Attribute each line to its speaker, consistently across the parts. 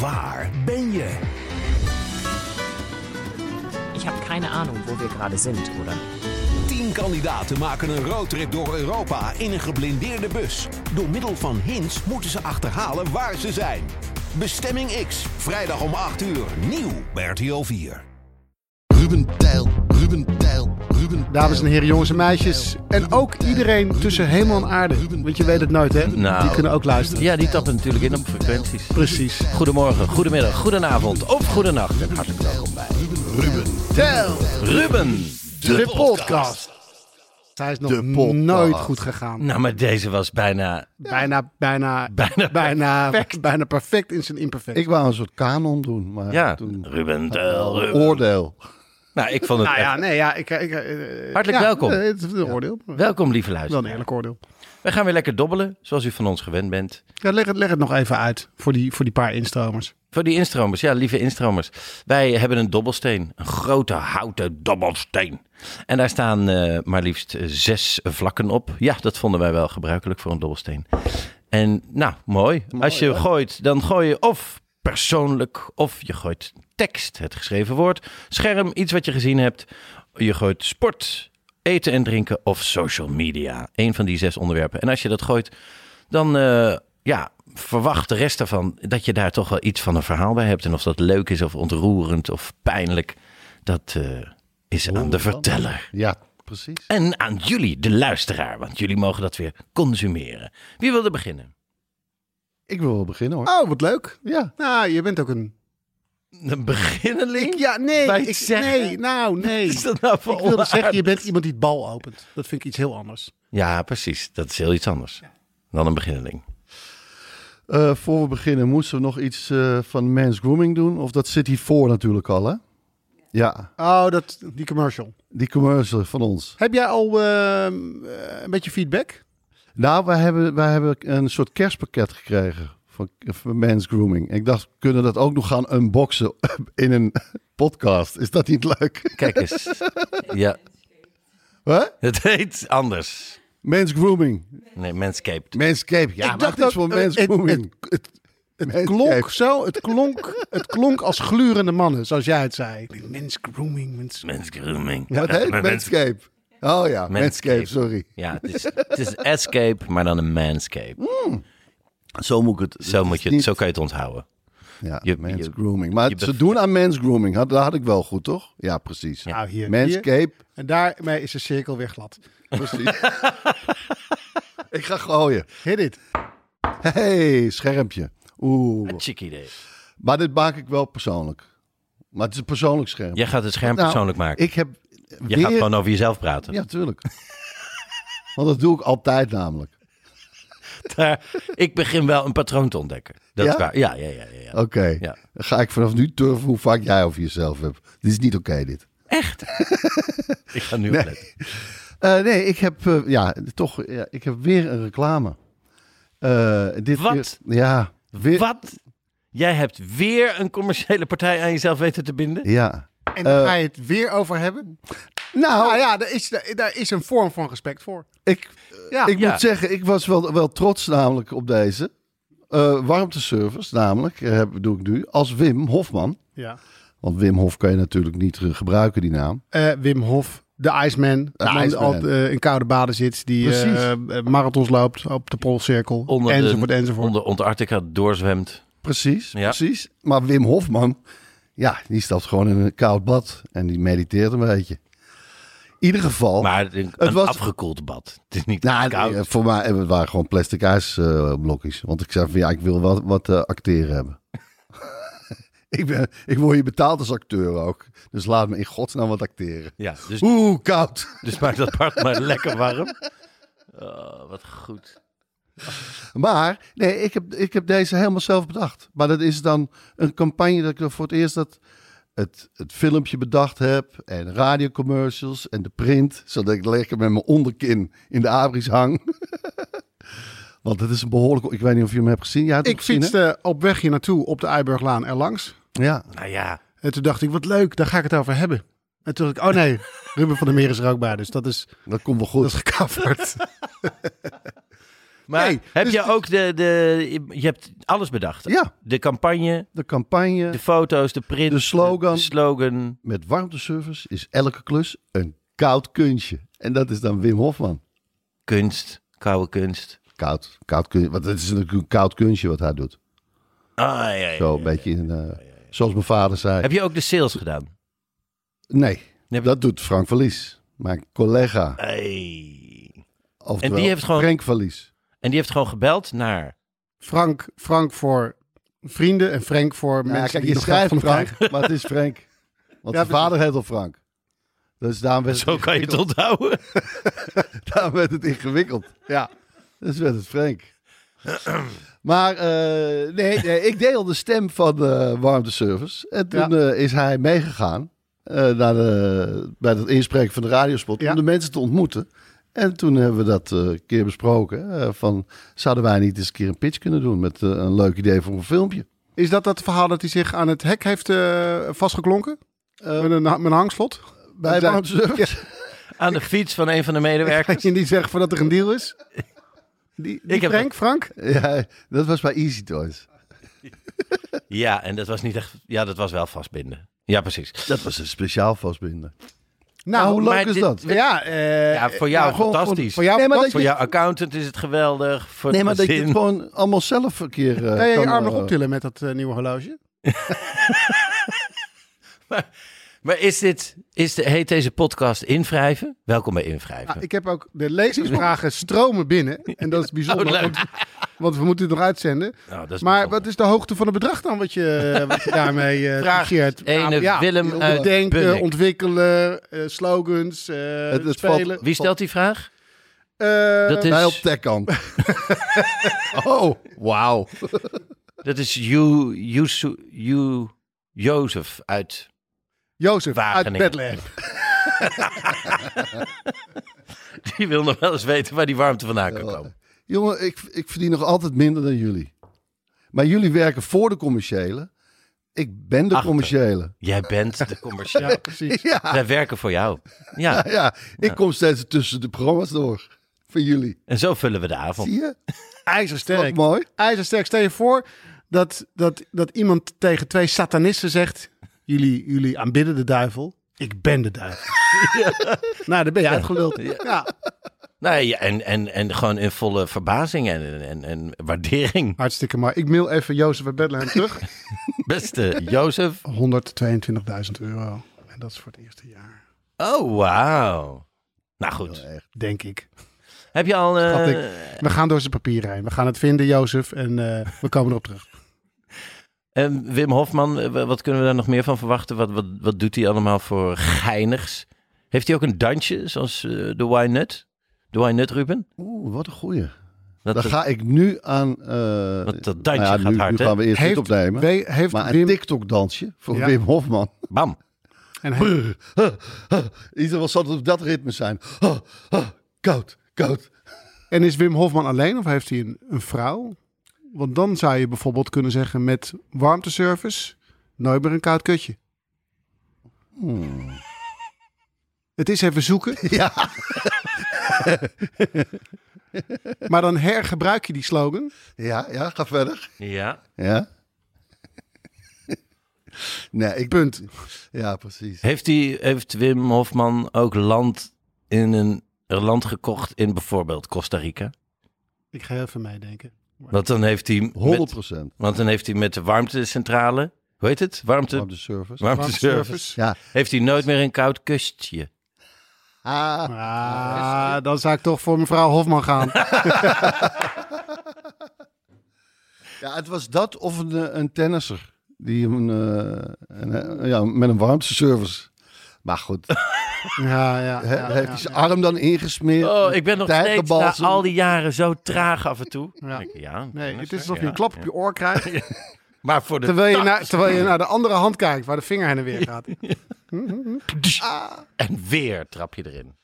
Speaker 1: Waar ben je?
Speaker 2: Ich habe keine Ahnung, wo wir gerade sind, oder?
Speaker 1: Tien kandidaten maken een roadtrip door Europa in een geblindeerde bus. Door middel van hints moeten ze achterhalen waar ze zijn. Bestemming X, vrijdag om 8 uur, nieuw bij RTL 4.
Speaker 3: Ruben Tijl, Ruben Tijl, Ruben
Speaker 4: Dames en heren, jongens en meisjes. En ook iedereen tussen hemel en aarde. Want je weet het nooit, hè?
Speaker 5: Nou.
Speaker 4: Die kunnen ook luisteren.
Speaker 5: Ja, die tappen natuurlijk in op frequenties.
Speaker 4: Precies.
Speaker 5: Goedemorgen, goedemiddag, goedenavond of goedenacht. En hartelijk welkom bij
Speaker 4: Tel
Speaker 5: Ruben.
Speaker 4: de podcast. Hij is nog
Speaker 3: De podcast.
Speaker 4: nooit goed gegaan.
Speaker 5: Nou, maar deze was bijna...
Speaker 4: Bijna, bijna,
Speaker 5: Bijna
Speaker 4: bijna, bijna perfect. in zijn imperfect.
Speaker 3: Ik wou een soort kanon doen, maar
Speaker 5: Ja,
Speaker 3: toen...
Speaker 5: Ruben Tel, Ruben.
Speaker 3: Oordeel.
Speaker 5: Nou, ik vond het
Speaker 4: nou ja,
Speaker 5: echt-
Speaker 4: nee, ja. Ik, ik, eh,
Speaker 5: Hartelijk
Speaker 4: ja,
Speaker 5: welkom.
Speaker 4: eh, Het is een oordeel.
Speaker 5: Welkom, lieve
Speaker 4: Wel een
Speaker 5: luisteraar.
Speaker 4: eerlijk oordeel.
Speaker 5: We gaan weer lekker dobbelen, zoals u van ons gewend bent.
Speaker 4: Ja, leg, het, leg het nog even uit voor die, voor die paar instromers.
Speaker 5: Voor die instromers, ja, lieve instromers. Wij hebben een dobbelsteen, een grote houten dobbelsteen. En daar staan eh, maar liefst zes vlakken op. Ja, dat vonden wij wel gebruikelijk voor een dobbelsteen. En nou, mooi. Als je gooit, dan gooi je of persoonlijk, of je gooit tekst, het geschreven woord, scherm, iets wat je gezien hebt. Je gooit sport, eten en drinken of social media. Eén van die zes onderwerpen. En als je dat gooit, dan eh, ja, verwacht de rest daarvan dat je daar toch wel iets van een verhaal bij hebt. En of dat leuk is of ontroerend of pijnlijk, dat eh, is aan de verteller.
Speaker 3: Ja, precies.
Speaker 5: En aan jullie, de luisteraar, want jullie mogen dat weer consumeren. Wie wil er beginnen?
Speaker 3: Ik wil wel beginnen hoor.
Speaker 4: Oh, wat leuk.
Speaker 3: Ja,
Speaker 4: Nou, je bent ook een...
Speaker 5: Een beginneling?
Speaker 4: Ik, ja, nee.
Speaker 5: Bij het
Speaker 4: ik,
Speaker 5: zeggen?
Speaker 4: nee, nou, nee.
Speaker 5: Is dat nou voor
Speaker 4: Ik wilde
Speaker 5: onaardig?
Speaker 4: zeggen, je bent iemand die het bal opent. Dat vind ik iets heel anders.
Speaker 5: Ja, precies. Dat is heel iets anders dan een beginneling.
Speaker 3: Eh, voor we beginnen moeten we nog iets eh, van mens grooming doen. Of dat zit hiervoor natuurlijk al, hè? Ja,
Speaker 4: Oh, dat, die commercial.
Speaker 3: die commercial van ons.
Speaker 4: Heb jij al ehm, eh, een beetje feedback?
Speaker 3: Nou, wij hebben, wij hebben een soort kerstpakket gekregen van, van mens grooming. Ik dacht, kunnen we dat ook nog gaan unboxen in een podcast? Is dat niet leuk?
Speaker 5: Kijk eens. ja,
Speaker 3: Huh?
Speaker 5: het heet anders.
Speaker 3: Mens grooming.
Speaker 5: Nee, Manscaped.
Speaker 3: Manscape, ja,
Speaker 4: Ik
Speaker 3: maar
Speaker 4: dacht
Speaker 3: eh, het is
Speaker 4: dat-
Speaker 3: wel mansgrooming. Het,
Speaker 4: Klonk zo, het klonk, het klonk als glurende mannen, zoals jij het zei. Mens grooming, mens...
Speaker 5: Mansgrooming.
Speaker 3: Wat heet
Speaker 5: Mens-
Speaker 3: Manscape? Oh ja,
Speaker 5: Manscape.
Speaker 3: Manscape, sorry.
Speaker 5: Ja, het is, het is escape, maar dan een manscape.
Speaker 3: Zo moet ik het.
Speaker 5: Zo, moet
Speaker 3: Hmm? is
Speaker 5: je, het-
Speaker 3: niet-
Speaker 5: zo kan je het onthouden.
Speaker 3: Ja,
Speaker 5: je-
Speaker 3: mansgrooming. Maar
Speaker 5: je
Speaker 3: ze
Speaker 5: bev-
Speaker 3: doen aan mansgrooming. Had, dat had ik wel goed, toch? Ja, precies.
Speaker 4: Nou, hier, hier.
Speaker 3: Manscape.
Speaker 4: En daarmee is de cirkel weer glad.
Speaker 3: Precies. ik ga gooien.
Speaker 4: Hit it.
Speaker 3: hey, schermpje. Oeh.
Speaker 5: Een chic idee.
Speaker 3: Maar dit maak ik wel persoonlijk. Maar het is een persoonlijk scherm.
Speaker 5: Jij gaat het scherm
Speaker 3: Nou,
Speaker 5: persoonlijk maken.
Speaker 3: Ik heb
Speaker 5: je
Speaker 3: weer...
Speaker 5: gaat gewoon over jezelf praten.
Speaker 3: Ja, tuurlijk. Want dat doe ik altijd namelijk.
Speaker 5: Daar, ik begin wel een patroon te ontdekken. Dat is
Speaker 3: Ja?
Speaker 5: waar. Ja, ja, ja. ja, ja.
Speaker 3: Oké.
Speaker 5: Ja.
Speaker 3: Dan ga ik vanaf nu turven hoe vaak jij over jezelf hebt. Dit is niet oké, dit.
Speaker 5: Ik ga nu opletten.
Speaker 3: Eh, nee, ik heb, eh, ja, toch, ja, ik heb weer een reclame. Eh, dit
Speaker 5: Wat?
Speaker 3: keer- ja. Weer,
Speaker 5: Wat? Jij hebt weer een commerciële partij aan jezelf weten te binden?
Speaker 3: Ja.
Speaker 4: En daar ga je het weer over hebben?
Speaker 3: Eh. Nou,
Speaker 4: Nou ja, daar is, daar is een vorm van respect voor.
Speaker 3: ik,
Speaker 4: Ja.
Speaker 3: ik
Speaker 5: Ja.
Speaker 3: moet zeggen, ik was wel, wel trots namelijk op deze. eh warmteservice namelijk, eh, heb- doe ik nu, als Wim Hofman.
Speaker 4: Ja.
Speaker 3: Want Wim Hof kan je natuurlijk niet eh, gebruiken, die naam.
Speaker 4: Eh, Wim Hof, de Iceman. De man die
Speaker 3: Iceman.
Speaker 4: altijd eh, in koude baden zit. Die
Speaker 3: Precies.
Speaker 4: eh, eh, marathons loopt op de Poolcirkel.
Speaker 5: Onder de-
Speaker 4: enzovoort, enzovoort.
Speaker 5: Onder Antarctica doorzwemt.
Speaker 3: Precies,
Speaker 5: Ja.
Speaker 3: precies. Maar Wim Hofman, ja, die stapt gewoon in een koud bad en die mediteert een beetje. In ieder geval,
Speaker 5: Maar een,
Speaker 3: Oh. Het
Speaker 5: een
Speaker 3: was-
Speaker 5: afgekoeld bad. Het is niet
Speaker 3: nou,
Speaker 5: koud.
Speaker 3: eh, voor mij eh, het waren gewoon plastic ijsblokjes. want ik zei van ja, ik wil wat, wat eh, acteren hebben. ik, ben, ik word hier betaald als acteur ook. Dus laat me in godsnaam wat acteren.
Speaker 5: Ja, dus,
Speaker 3: Oeh, koud.
Speaker 5: dus maak dat bad maar lekker warm. Oh, wat goed.
Speaker 3: Maar nee, ik heb, ik heb deze helemaal zelf bedacht. Maar dat is dan een campagne dat ik dan voor het eerst dat het, het filmpje bedacht heb. En radiocommercials en de print. Zodat ik lekker met mijn onderkin in de abris hang. Want het is een behoorlijk... Ik weet niet of je hem hebt gezien. Jij hebt hem
Speaker 4: Ik
Speaker 3: gezien, hè?
Speaker 4: fietste op weg hier naartoe op de Eiburglaan erlangs.
Speaker 3: Ja.
Speaker 5: Nou ja,
Speaker 4: En toen dacht ik, wat leuk, daar ga ik het over hebben. En toen dacht ik, oh nee, Ruben van der Meer is er ook bij. Dus dat is,
Speaker 3: Dat komt wel
Speaker 4: dat is
Speaker 3: goed.
Speaker 4: gecoverd.
Speaker 5: maar
Speaker 4: Nee,
Speaker 5: heb
Speaker 4: dus
Speaker 5: je
Speaker 4: het-
Speaker 5: ook de, de... Je hebt alles bedacht.
Speaker 3: Ja,
Speaker 5: De campagne,
Speaker 3: de campagne
Speaker 5: de foto's, de print.
Speaker 3: De slogan.
Speaker 5: de slogan.
Speaker 3: met warmteservice is elke klus een koud kunstje. En dat is dan Wim Hofman.
Speaker 5: Kunst, koude kunst.
Speaker 3: Koud, koud kunstje. Want het is natuurlijk een koud kunstje wat hij doet.
Speaker 5: Ah, ja, ja, ja.
Speaker 3: Zo een beetje in, eh, zoals mijn vader zei.
Speaker 5: Heb je ook de sales gedaan?
Speaker 3: Nee,
Speaker 5: Heb je-
Speaker 3: dat doet Frank Verlies. Mijn collega.
Speaker 5: Hey.
Speaker 3: Oftewel,
Speaker 5: die heeft gewoon-
Speaker 3: Frank Verlies.
Speaker 5: En die heeft gewoon gebeld naar...
Speaker 4: Frank, Frank voor vrienden en Frank voor
Speaker 3: Nou,
Speaker 4: mensen
Speaker 3: kijk,
Speaker 4: die
Speaker 3: je
Speaker 4: nog geld
Speaker 3: schrijft
Speaker 4: van elkaar
Speaker 3: Frank, maar het is Frank. Want
Speaker 4: Ja,
Speaker 3: zijn vader heet al Frank. Dus daarom werd,
Speaker 5: Zo kan je het onthouden.
Speaker 3: daarom werd het ingewikkeld. Ja, dus werd het Frank. Maar eh, nee, nee, ik deelde de stem van de warmteservice. En toen eh, is hij meegegaan eh, naar de, bij het inspreken van de radiospot
Speaker 4: Ja.
Speaker 3: om de mensen te ontmoeten. En toen hebben we dat eh, een keer besproken. eh, van, zouden wij niet eens een keer een pitch kunnen doen met eh, een leuk idee voor een filmpje?
Speaker 4: Is dat dat verhaal dat hij zich aan het hek heeft eh, vastgeklonken? met, een, met een hangslot?
Speaker 3: Eh, Bij
Speaker 4: Dat-
Speaker 3: warmteservice?
Speaker 5: Aan de fiets van een van de medewerkers.
Speaker 4: Kan je niet zeggen voordat er een deal is? Die, die
Speaker 5: Ik heb-
Speaker 4: Frank, Frank?
Speaker 3: Nou, Ja, dat was bij Easy Toys.
Speaker 5: Ja, en dat was niet echt... Ja, dat was wel vastbinden. Ja, precies.
Speaker 3: Dat was een speciaal vastbinden.
Speaker 4: Nou,
Speaker 3: Ah, hoe leuk
Speaker 5: maar
Speaker 3: is
Speaker 5: dit-
Speaker 3: dat?
Speaker 4: Ja, eh,
Speaker 5: Ja, voor jou
Speaker 4: nou, gewoon-
Speaker 5: fantastisch.
Speaker 4: Voor jou
Speaker 3: Nee, maar dat
Speaker 4: fantastisch.
Speaker 5: Voor jouw accountant is het geweldig. Voor
Speaker 3: Nee, maar dat je
Speaker 5: gezin.
Speaker 3: het gewoon allemaal zelf een keer eh,
Speaker 4: Kan je je
Speaker 3: kan,
Speaker 4: arm
Speaker 3: eh,
Speaker 4: nog optillen met dat eh, nieuwe horloge?
Speaker 5: Maar is dit, is de, heet deze podcast Invrijven? Welkom bij Invrijven.
Speaker 4: Ah, ik heb ook de lezingsvragen stromen binnen. En dat is bijzonder,
Speaker 5: Oh, leuk.
Speaker 4: want, want we moeten het nog uitzenden.
Speaker 5: Nou, dat is
Speaker 4: maar
Speaker 5: bijzonder.
Speaker 4: wat is de hoogte van het bedrag dan wat je, eh, wat je daarmee eh
Speaker 5: Vraag
Speaker 4: regeert?
Speaker 5: ene
Speaker 4: Nou,
Speaker 5: Willem
Speaker 4: je
Speaker 5: uit
Speaker 4: Denken,
Speaker 5: Bunnik.
Speaker 4: ontwikkelen, eh, slogans, eh
Speaker 3: Het- het valt-
Speaker 4: spelen.
Speaker 5: Wie stelt die vraag?
Speaker 4: Eh,
Speaker 5: Dat
Speaker 3: Bij op
Speaker 5: is,
Speaker 3: tech kan. oh, wauw.
Speaker 5: dat is you, you, you, Jozef uit.
Speaker 4: Jozef uit
Speaker 5: Wageningen.
Speaker 4: Bethlehem.
Speaker 5: Die wil nog wel eens weten waar die warmte vandaan kan komen.
Speaker 3: Jongen, ik, ik verdien nog altijd minder dan jullie. Maar jullie werken voor de commerciële. Ik ben de
Speaker 5: Achter.
Speaker 3: commerciële.
Speaker 5: Jij bent de commercieel.
Speaker 4: Ja, precies.
Speaker 3: Ja,
Speaker 5: Wij werken voor jou. Ja,
Speaker 3: ja, ik kom steeds tussen de programma's door. Van jullie.
Speaker 5: en zo vullen we de avond.
Speaker 3: Zie je? Wat
Speaker 4: IJzersterk.
Speaker 3: mooi.
Speaker 4: IJzersterk. Stel je voor dat, dat, dat iemand tegen twee satanisten zegt... Jullie, jullie aanbidden de duivel. Ik ben de duivel. Nou, dan ben je uitgeluld. Ja.
Speaker 5: Nou, ja, en, en, en gewoon in volle verbazing en, en, en waardering.
Speaker 4: Hartstikke mooi. Ik mail even Jozef uit Bethlehem terug.
Speaker 5: Beste Jozef.
Speaker 4: 122.000 euro. En dat is voor het eerste jaar,
Speaker 5: Oh, wauw. Nou goed.
Speaker 4: denk ik.
Speaker 5: Heb je al... eh,
Speaker 4: Schat ik. We gaan door zijn papieren heen. We gaan het vinden, Jozef. En eh, we komen erop terug.
Speaker 5: En Ehm, Wim Hofman, eh, wat kunnen we daar nog meer van verwachten? Wat, wat, wat doet hij allemaal voor geinigs? Heeft hij ook een dansje, zoals eh, de Y-Nut? De Y-Nut, Ruben?
Speaker 3: Oeh, wat een goeie.
Speaker 5: Dat,
Speaker 3: Dan ga ik nu aan... eh,
Speaker 5: dat dansje
Speaker 3: nou ja,
Speaker 5: gaat
Speaker 3: nu,
Speaker 5: hard,
Speaker 3: nu
Speaker 5: hè?
Speaker 3: gaan we eerst dit
Speaker 4: Heeft-
Speaker 3: opnemen.
Speaker 4: we- heeft
Speaker 3: maar een
Speaker 4: Wim-
Speaker 3: TikTok-dansje voor
Speaker 4: Ja.
Speaker 3: Wim Hofman.
Speaker 5: Bam.
Speaker 4: En hij-
Speaker 3: Iedereen zal het op dat ritme zijn. koud, koud.
Speaker 4: En is Wim Hofman alleen of heeft hij een, een vrouw? Want dan zou je bijvoorbeeld kunnen zeggen met warmteservice, nooit meer een koud kutje.
Speaker 3: Hmm.
Speaker 4: Het is even zoeken. Ja. maar dan hergebruik je die slogan.
Speaker 3: Ja, ja, ga verder.
Speaker 5: Ja.
Speaker 3: Ja. nee, ik... Punt. Ja, precies.
Speaker 5: Heeft, hij, heeft Wim Hofman ook land, in een, een land gekocht in bijvoorbeeld Costa Rica?
Speaker 4: Ik ga even meedenken.
Speaker 5: Want dan heeft hij...
Speaker 3: 100%
Speaker 5: Met, want dan heeft hij met de warmtecentrale... Hoe heet het? Warmte...
Speaker 3: op de service.
Speaker 5: warmteservice.
Speaker 3: Ja.
Speaker 5: Heeft hij nooit meer een koud kustje?
Speaker 3: Ah,
Speaker 4: Ah, dan zou ik toch voor mevrouw Hofman gaan.
Speaker 3: ja, het was dat of een, eh, een tennisser. Die een, eh, een, eh, ja, met een warmteservice. Maar goed.
Speaker 4: Ja, ja.
Speaker 3: Hè?
Speaker 4: ja,
Speaker 3: heeft
Speaker 4: ja.
Speaker 3: hij zijn arm dan ingesmeerd?
Speaker 5: Oh,
Speaker 3: met
Speaker 5: ik ben nog steeds na
Speaker 3: tijgerbalsem?
Speaker 5: al die jaren zo traag af en toe.
Speaker 4: Ja.
Speaker 5: Denk ik, ja
Speaker 4: Nee,
Speaker 5: dat
Speaker 4: het is
Speaker 5: zo,
Speaker 4: alsof je
Speaker 5: ja.
Speaker 4: een klap op je oor krijgt.
Speaker 5: Maar voor de
Speaker 4: Terwijl je,
Speaker 5: tak
Speaker 4: naar, terwijl je naar de andere hand kijkt, waar de vinger heen en weer gaat.
Speaker 5: en weer trap je erin.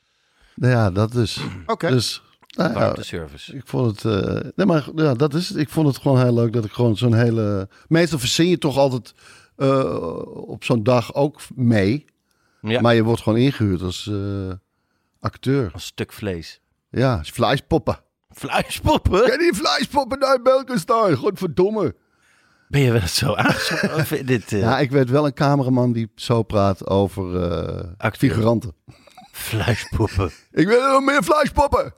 Speaker 3: Nou ja, dat dus.
Speaker 4: Oké.
Speaker 3: Dus, nou ja,
Speaker 5: Warmte service.
Speaker 3: ik vond het... eh, nee, maar ja, dat is het. Ik vond het gewoon heel leuk dat ik gewoon zo'n hele... Meestal verzin je toch altijd eh, op zo'n dag ook mee.
Speaker 5: Ja,
Speaker 3: Maar je wordt gewoon ingehuurd als eh, acteur.
Speaker 5: een stuk vlees.
Speaker 3: Ja, als vleespoppen.
Speaker 5: Fluispoppen?
Speaker 3: Ken je die nou vleespoppen uit Belkenstein? Godverdomme.
Speaker 5: Ben je wel zo aangesproken? Of dit eh
Speaker 3: Ja, ik weet wel een cameraman die zo praat over eh,
Speaker 5: Acteur.
Speaker 3: figuranten.
Speaker 5: fluispoppen?
Speaker 3: Ik wil er nog meer vleespoppen.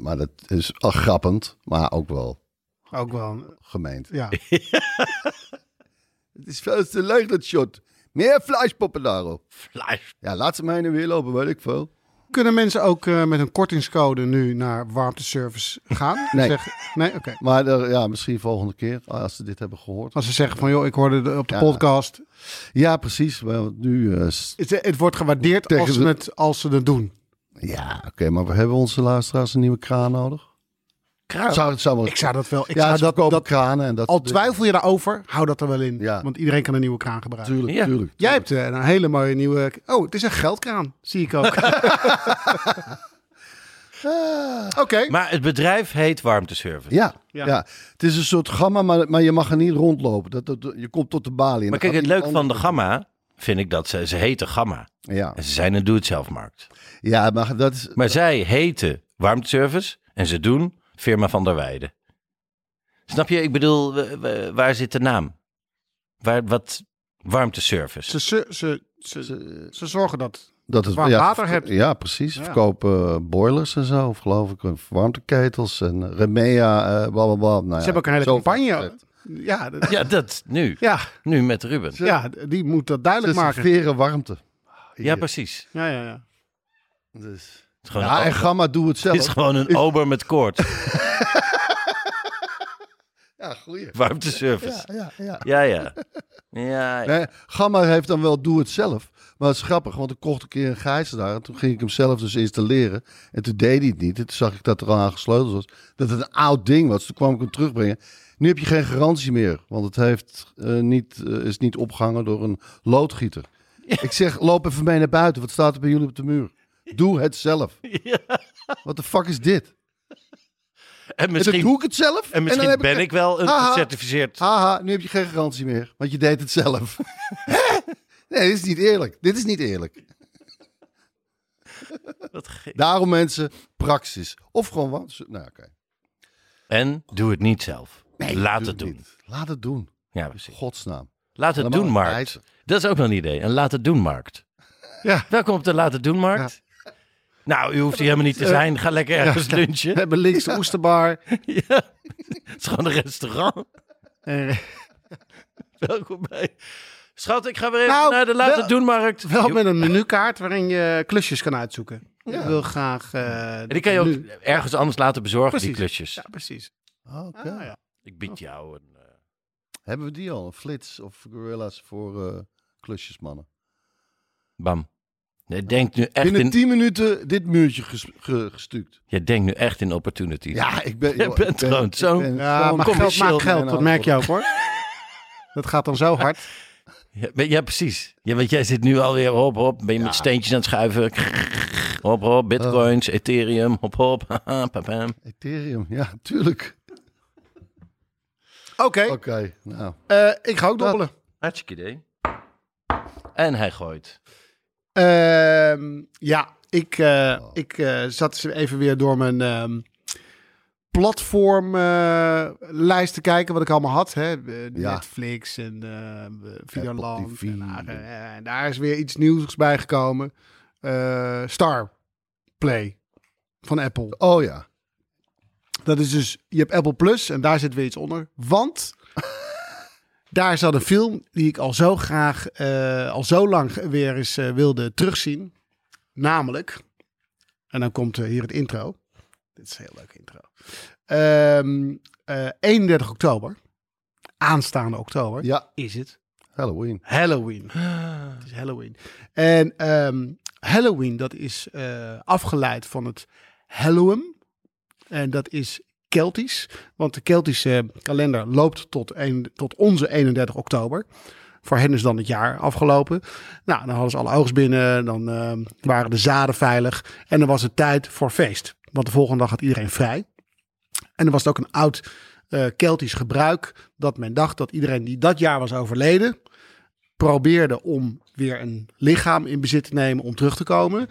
Speaker 3: Maar dat is al grappend, maar ook wel
Speaker 4: Ook wel.
Speaker 3: gemeend.
Speaker 4: Ja.
Speaker 3: Het is veel te leuk dat shot. Meer vleespoppen daarop.
Speaker 5: Fluis.
Speaker 3: Ja, laat ze mij in de weer lopen, weet ik veel.
Speaker 4: Kunnen mensen ook eh, met een kortingscode nu naar warmteservice gaan?
Speaker 3: Nee.
Speaker 4: Zeg, nee, oké.
Speaker 3: Maar eh, ja, misschien volgende keer, als ze dit hebben gehoord.
Speaker 4: Als ze zeggen van, joh, ik hoorde de- op de
Speaker 3: Ja.
Speaker 4: podcast.
Speaker 3: Ja, precies. Want nu... eh, s-
Speaker 4: Het, het wordt gewaardeerd
Speaker 3: Tegen
Speaker 4: als ze,
Speaker 3: de-
Speaker 4: het, als ze het doen.
Speaker 3: ja, Ah, oké, maar we hebben onze luisteraars een nieuwe kraan nodig.
Speaker 4: Kraan?
Speaker 3: Zou, het- zou wel-
Speaker 4: Oh. Ik zou dat wel... Ik
Speaker 3: ja,
Speaker 4: zou
Speaker 3: ze
Speaker 4: dat,
Speaker 3: verkopen
Speaker 4: dat,
Speaker 3: kranen en dat
Speaker 4: al
Speaker 3: soort dingen.
Speaker 4: twijfel je daarover, hou dat er wel in.
Speaker 3: Ja.
Speaker 4: Want iedereen kan een nieuwe kraan gebruiken.
Speaker 3: Tuurlijk,
Speaker 5: Ja.
Speaker 3: tuurlijk.
Speaker 4: Jij hebt eh, een hele mooie nieuwe... Oh, het is een geldkraan. Zie ik ook. Oké.
Speaker 5: Maar het bedrijf heet Warmteservice.
Speaker 3: Ja,
Speaker 4: Ja.
Speaker 3: ja. het is een soort gamma, maar, maar je mag er niet rondlopen. Dat, dat, je komt tot de balie. en
Speaker 5: Maar
Speaker 3: dan
Speaker 5: kijk, het
Speaker 3: gaat
Speaker 5: leuk van
Speaker 3: iemand
Speaker 5: de Gamma vind ik dat ze, ze heten Gamma.
Speaker 3: anders- Ja.
Speaker 5: En ze zijn een doe-het-zelf-markt.
Speaker 3: ja, maar dat is...
Speaker 5: Maar zij heten Warmteservice en ze doen firma van der Weijden. Snap je? Ik bedoel, we- we- waar zit de naam? Waar, wat Warmteservice?
Speaker 4: Ze, ze, ze, ze, ze zorgen dat.
Speaker 3: Dat het,
Speaker 4: Waar
Speaker 3: ja,
Speaker 4: water
Speaker 3: verko-
Speaker 4: hebt.
Speaker 3: Ja, precies.
Speaker 4: Ja.
Speaker 3: Verkopen eh, boilers en zo, of geloof ik. of warmteketels en eh, Remea, eh bla bla bla. Nou ja,
Speaker 4: ze hebben ook een hele
Speaker 3: zo-
Speaker 4: campagne. Ja, dat-
Speaker 5: Ja, dat nu.
Speaker 4: ja,
Speaker 5: Nu met Ruben.
Speaker 4: ja, die moet dat
Speaker 3: Ze
Speaker 4: duidelijk eh, maken.
Speaker 3: serveren warmte.
Speaker 5: Ja, precies.
Speaker 4: Ja, ja, ja.
Speaker 3: Dus.
Speaker 5: Het is gewoon
Speaker 3: Ja,
Speaker 5: een,
Speaker 3: en
Speaker 5: ober-
Speaker 3: gamma doe het zelf.
Speaker 5: het is gewoon een ober met koorts.
Speaker 3: Ja, goeie. Ja,
Speaker 5: Warmteservice.
Speaker 3: ja, ja.
Speaker 5: Ja, ja. Ja, ja.
Speaker 3: Nee, Gamma heeft dan wel doe het zelf. Maar het is grappig, want ik kocht een keer een gijzelaar. En toen ging ik hem zelf dus installeren. En toen deed hij het niet. En toen zag ik dat er al aan gesleuteld was. Dat het een oud ding was. Toen kwam ik hem terugbrengen. Nu heb je geen garantie meer. Want het heeft, eh, niet, eh, is niet opgehangen door een loodgieter. Ik zeg, loop even mee naar buiten. Wat staat er bij jullie op de muur? Doe het zelf. Wat de fuck is dit?
Speaker 5: En
Speaker 3: En dan
Speaker 5: misschien,
Speaker 3: doe ik het zelf.
Speaker 5: en misschien
Speaker 3: dan heb
Speaker 5: ben ik wel een
Speaker 3: Haha.
Speaker 5: gecertificeerd.
Speaker 3: Haha, nu heb je geen garantie meer, want je deed het zelf. Hè? nee, dit is niet eerlijk. Dit is niet eerlijk.
Speaker 5: Wat gek.
Speaker 3: Daarom mensen, praxis. Of gewoon wat. Nou, oké.
Speaker 5: En doe het niet zelf. Laat het doen.
Speaker 3: niet. Laat het doen.
Speaker 5: Ja, precies.
Speaker 3: Godsnaam.
Speaker 5: Laat het
Speaker 3: Allemaal
Speaker 5: doen, markt.
Speaker 3: eisen.
Speaker 5: Dat is ook nog een idee. Een laat het doen, markt.
Speaker 4: Ja.
Speaker 5: Welkom op de laat het doen, markt. Nou, u hoeft hier helemaal niet te zijn. Ga lekker ergens
Speaker 4: We
Speaker 5: lunchen.
Speaker 4: hebben links de Oesterbar.
Speaker 5: Ja. Het is gewoon een restaurant.
Speaker 4: Eh,
Speaker 5: Welkom bij. Schat, ik ga weer even
Speaker 4: Nou,
Speaker 5: naar de laat
Speaker 4: wel-
Speaker 5: het doen, markt.
Speaker 4: wel
Speaker 5: Joep.
Speaker 4: met een menukaart waarin je klusjes kan uitzoeken. Ik wil graag. eh,
Speaker 5: En die kan je ook
Speaker 4: nu-
Speaker 5: ergens anders laten bezorgen, die
Speaker 4: Precies.
Speaker 5: klusjes.
Speaker 4: Ja, precies.
Speaker 3: Ah, Oké.
Speaker 4: Ah, ja.
Speaker 5: Ik bied jou een... eh,
Speaker 3: Hebben we die al? Een flits of gorilla's voor eh, klusjesmannen?
Speaker 5: Bam. Je denkt, nu echt
Speaker 3: Binnen
Speaker 5: in,
Speaker 3: 10 minuten dit muurtje ges- ge- gestuukt.
Speaker 5: je denkt nu echt in opportunity.
Speaker 3: Ja, ik ben...
Speaker 5: Je bent gewoon zo'n-
Speaker 4: Ja, maar geld
Speaker 5: commercieel
Speaker 4: maakt geld, dat merk je ook hoor. Dat gaat dan zo hard.
Speaker 5: Ja, maar- ja, precies. Ja, want jij zit nu alweer hop, hop. Ben je met steentjes aan het schuiven? Hop, hop.
Speaker 4: Oh.
Speaker 5: Bitcoins, Ethereum, hop, hop. Haha, papam.
Speaker 3: Ethereum, ja, tuurlijk.
Speaker 4: Oké,
Speaker 3: Oké, nou.
Speaker 4: eh, ik ga ook dobbelen.
Speaker 5: Hartstikke idee. En hij gooit.
Speaker 4: Ehm, ja, ik, eh, ik eh, zat ze even weer door mijn ehm, platformlijst eh, te kijken wat ik allemaal had. Hè? Eh,
Speaker 3: Ja.
Speaker 4: Netflix en eh Videoland.
Speaker 3: TV.
Speaker 4: En, daar, eh, daar is weer iets nieuws bijgekomen. Eh, Star Play van Apple.
Speaker 3: Oh ja.
Speaker 4: Dat is dus, je hebt Apple Plus en daar zit weer iets onder. Want daar zat een film die ik al zo graag, eh, al zo lang weer eens eh, wilde terugzien. Namelijk, en dan komt eh, hier het intro. Dit is een heel leuk intro. Ehm, eh, 31 oktober, aanstaande oktober,
Speaker 3: Ja,
Speaker 4: is het Oh,
Speaker 3: Halloween.
Speaker 4: Halloween. Het is Halloween. En ehm, Halloween, dat is eh, afgeleid van het Halloween. En dat is Keltisch, want de Keltische kalender loopt tot, een, tot onze 31 oktober. Voor hen is dan het jaar afgelopen. Nou, dan hadden ze alle oogst binnen, dan eh, waren de zaden veilig. En dan was het tijd voor feest, want de volgende dag had iedereen vrij. En er was het ook een oud eh, Keltisch gebruik dat men dacht dat iedereen die dat jaar was overleden, probeerde om weer een lichaam in bezit te nemen om terug te komen.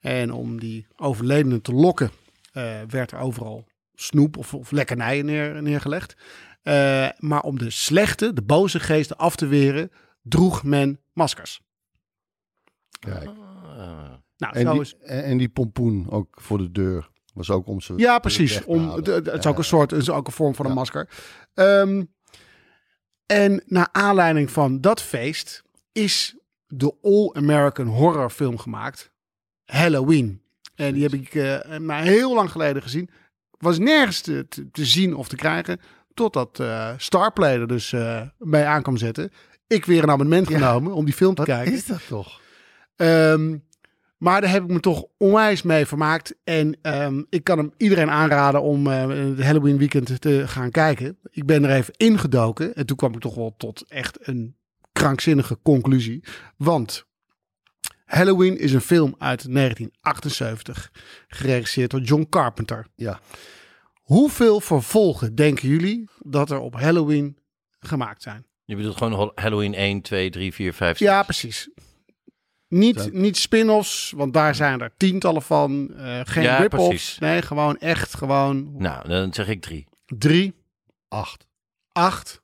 Speaker 4: En om die overledenen te lokken, eh, werd er overal snoep of, of lekkernijen neer, neergelegd. Eh, maar om de slechte, de boze geesten af te weren, droeg men maskers.
Speaker 3: Kijk.
Speaker 4: oh, Nou,
Speaker 3: En
Speaker 4: zo
Speaker 3: die,
Speaker 4: is-
Speaker 3: en en die pompoen ook voor de deur. Was ook om ze
Speaker 4: Ja, precies.
Speaker 3: weg te
Speaker 4: Om,
Speaker 3: halen.
Speaker 4: d- d- het is
Speaker 3: Ja,
Speaker 4: ook een soort, het is ook een vorm van een masker. Ehm, en naar aanleiding van dat feest is de All-American horror film gemaakt. Halloween. En die heb ik eh, maar heel lang geleden gezien. Was nergens te, te, te zien of te krijgen. Totdat eh Starplay er dus eh mee aan kwam zetten. Ik weer een abonnement genomen om die film te
Speaker 3: Wat
Speaker 4: kijken.
Speaker 3: is dat toch?
Speaker 4: Ehm, maar daar heb ik me toch onwijs mee vermaakt. En ehm, ik kan hem iedereen aanraden om eh, het Halloween weekend te gaan kijken. Ik ben er even ingedoken. En toen kwam ik toch wel tot echt een krankzinnige conclusie. Want Halloween is een film uit 1978. Geregisseerd door John Carpenter.
Speaker 3: Ja.
Speaker 4: Hoeveel vervolgen denken jullie dat er op Halloween gemaakt zijn?
Speaker 5: Je bedoelt gewoon Hol- Halloween 1, 2, 3, 4, 5, 6.
Speaker 4: Ja, precies. Niet, niet spin-offs, want daar zijn er tientallen van. eh, geen
Speaker 5: Ja,
Speaker 4: rip-offs.
Speaker 5: precies.
Speaker 4: Nee, gewoon echt gewoon
Speaker 5: Nou, dan zeg ik drie.
Speaker 4: drie,
Speaker 3: Acht.
Speaker 4: acht,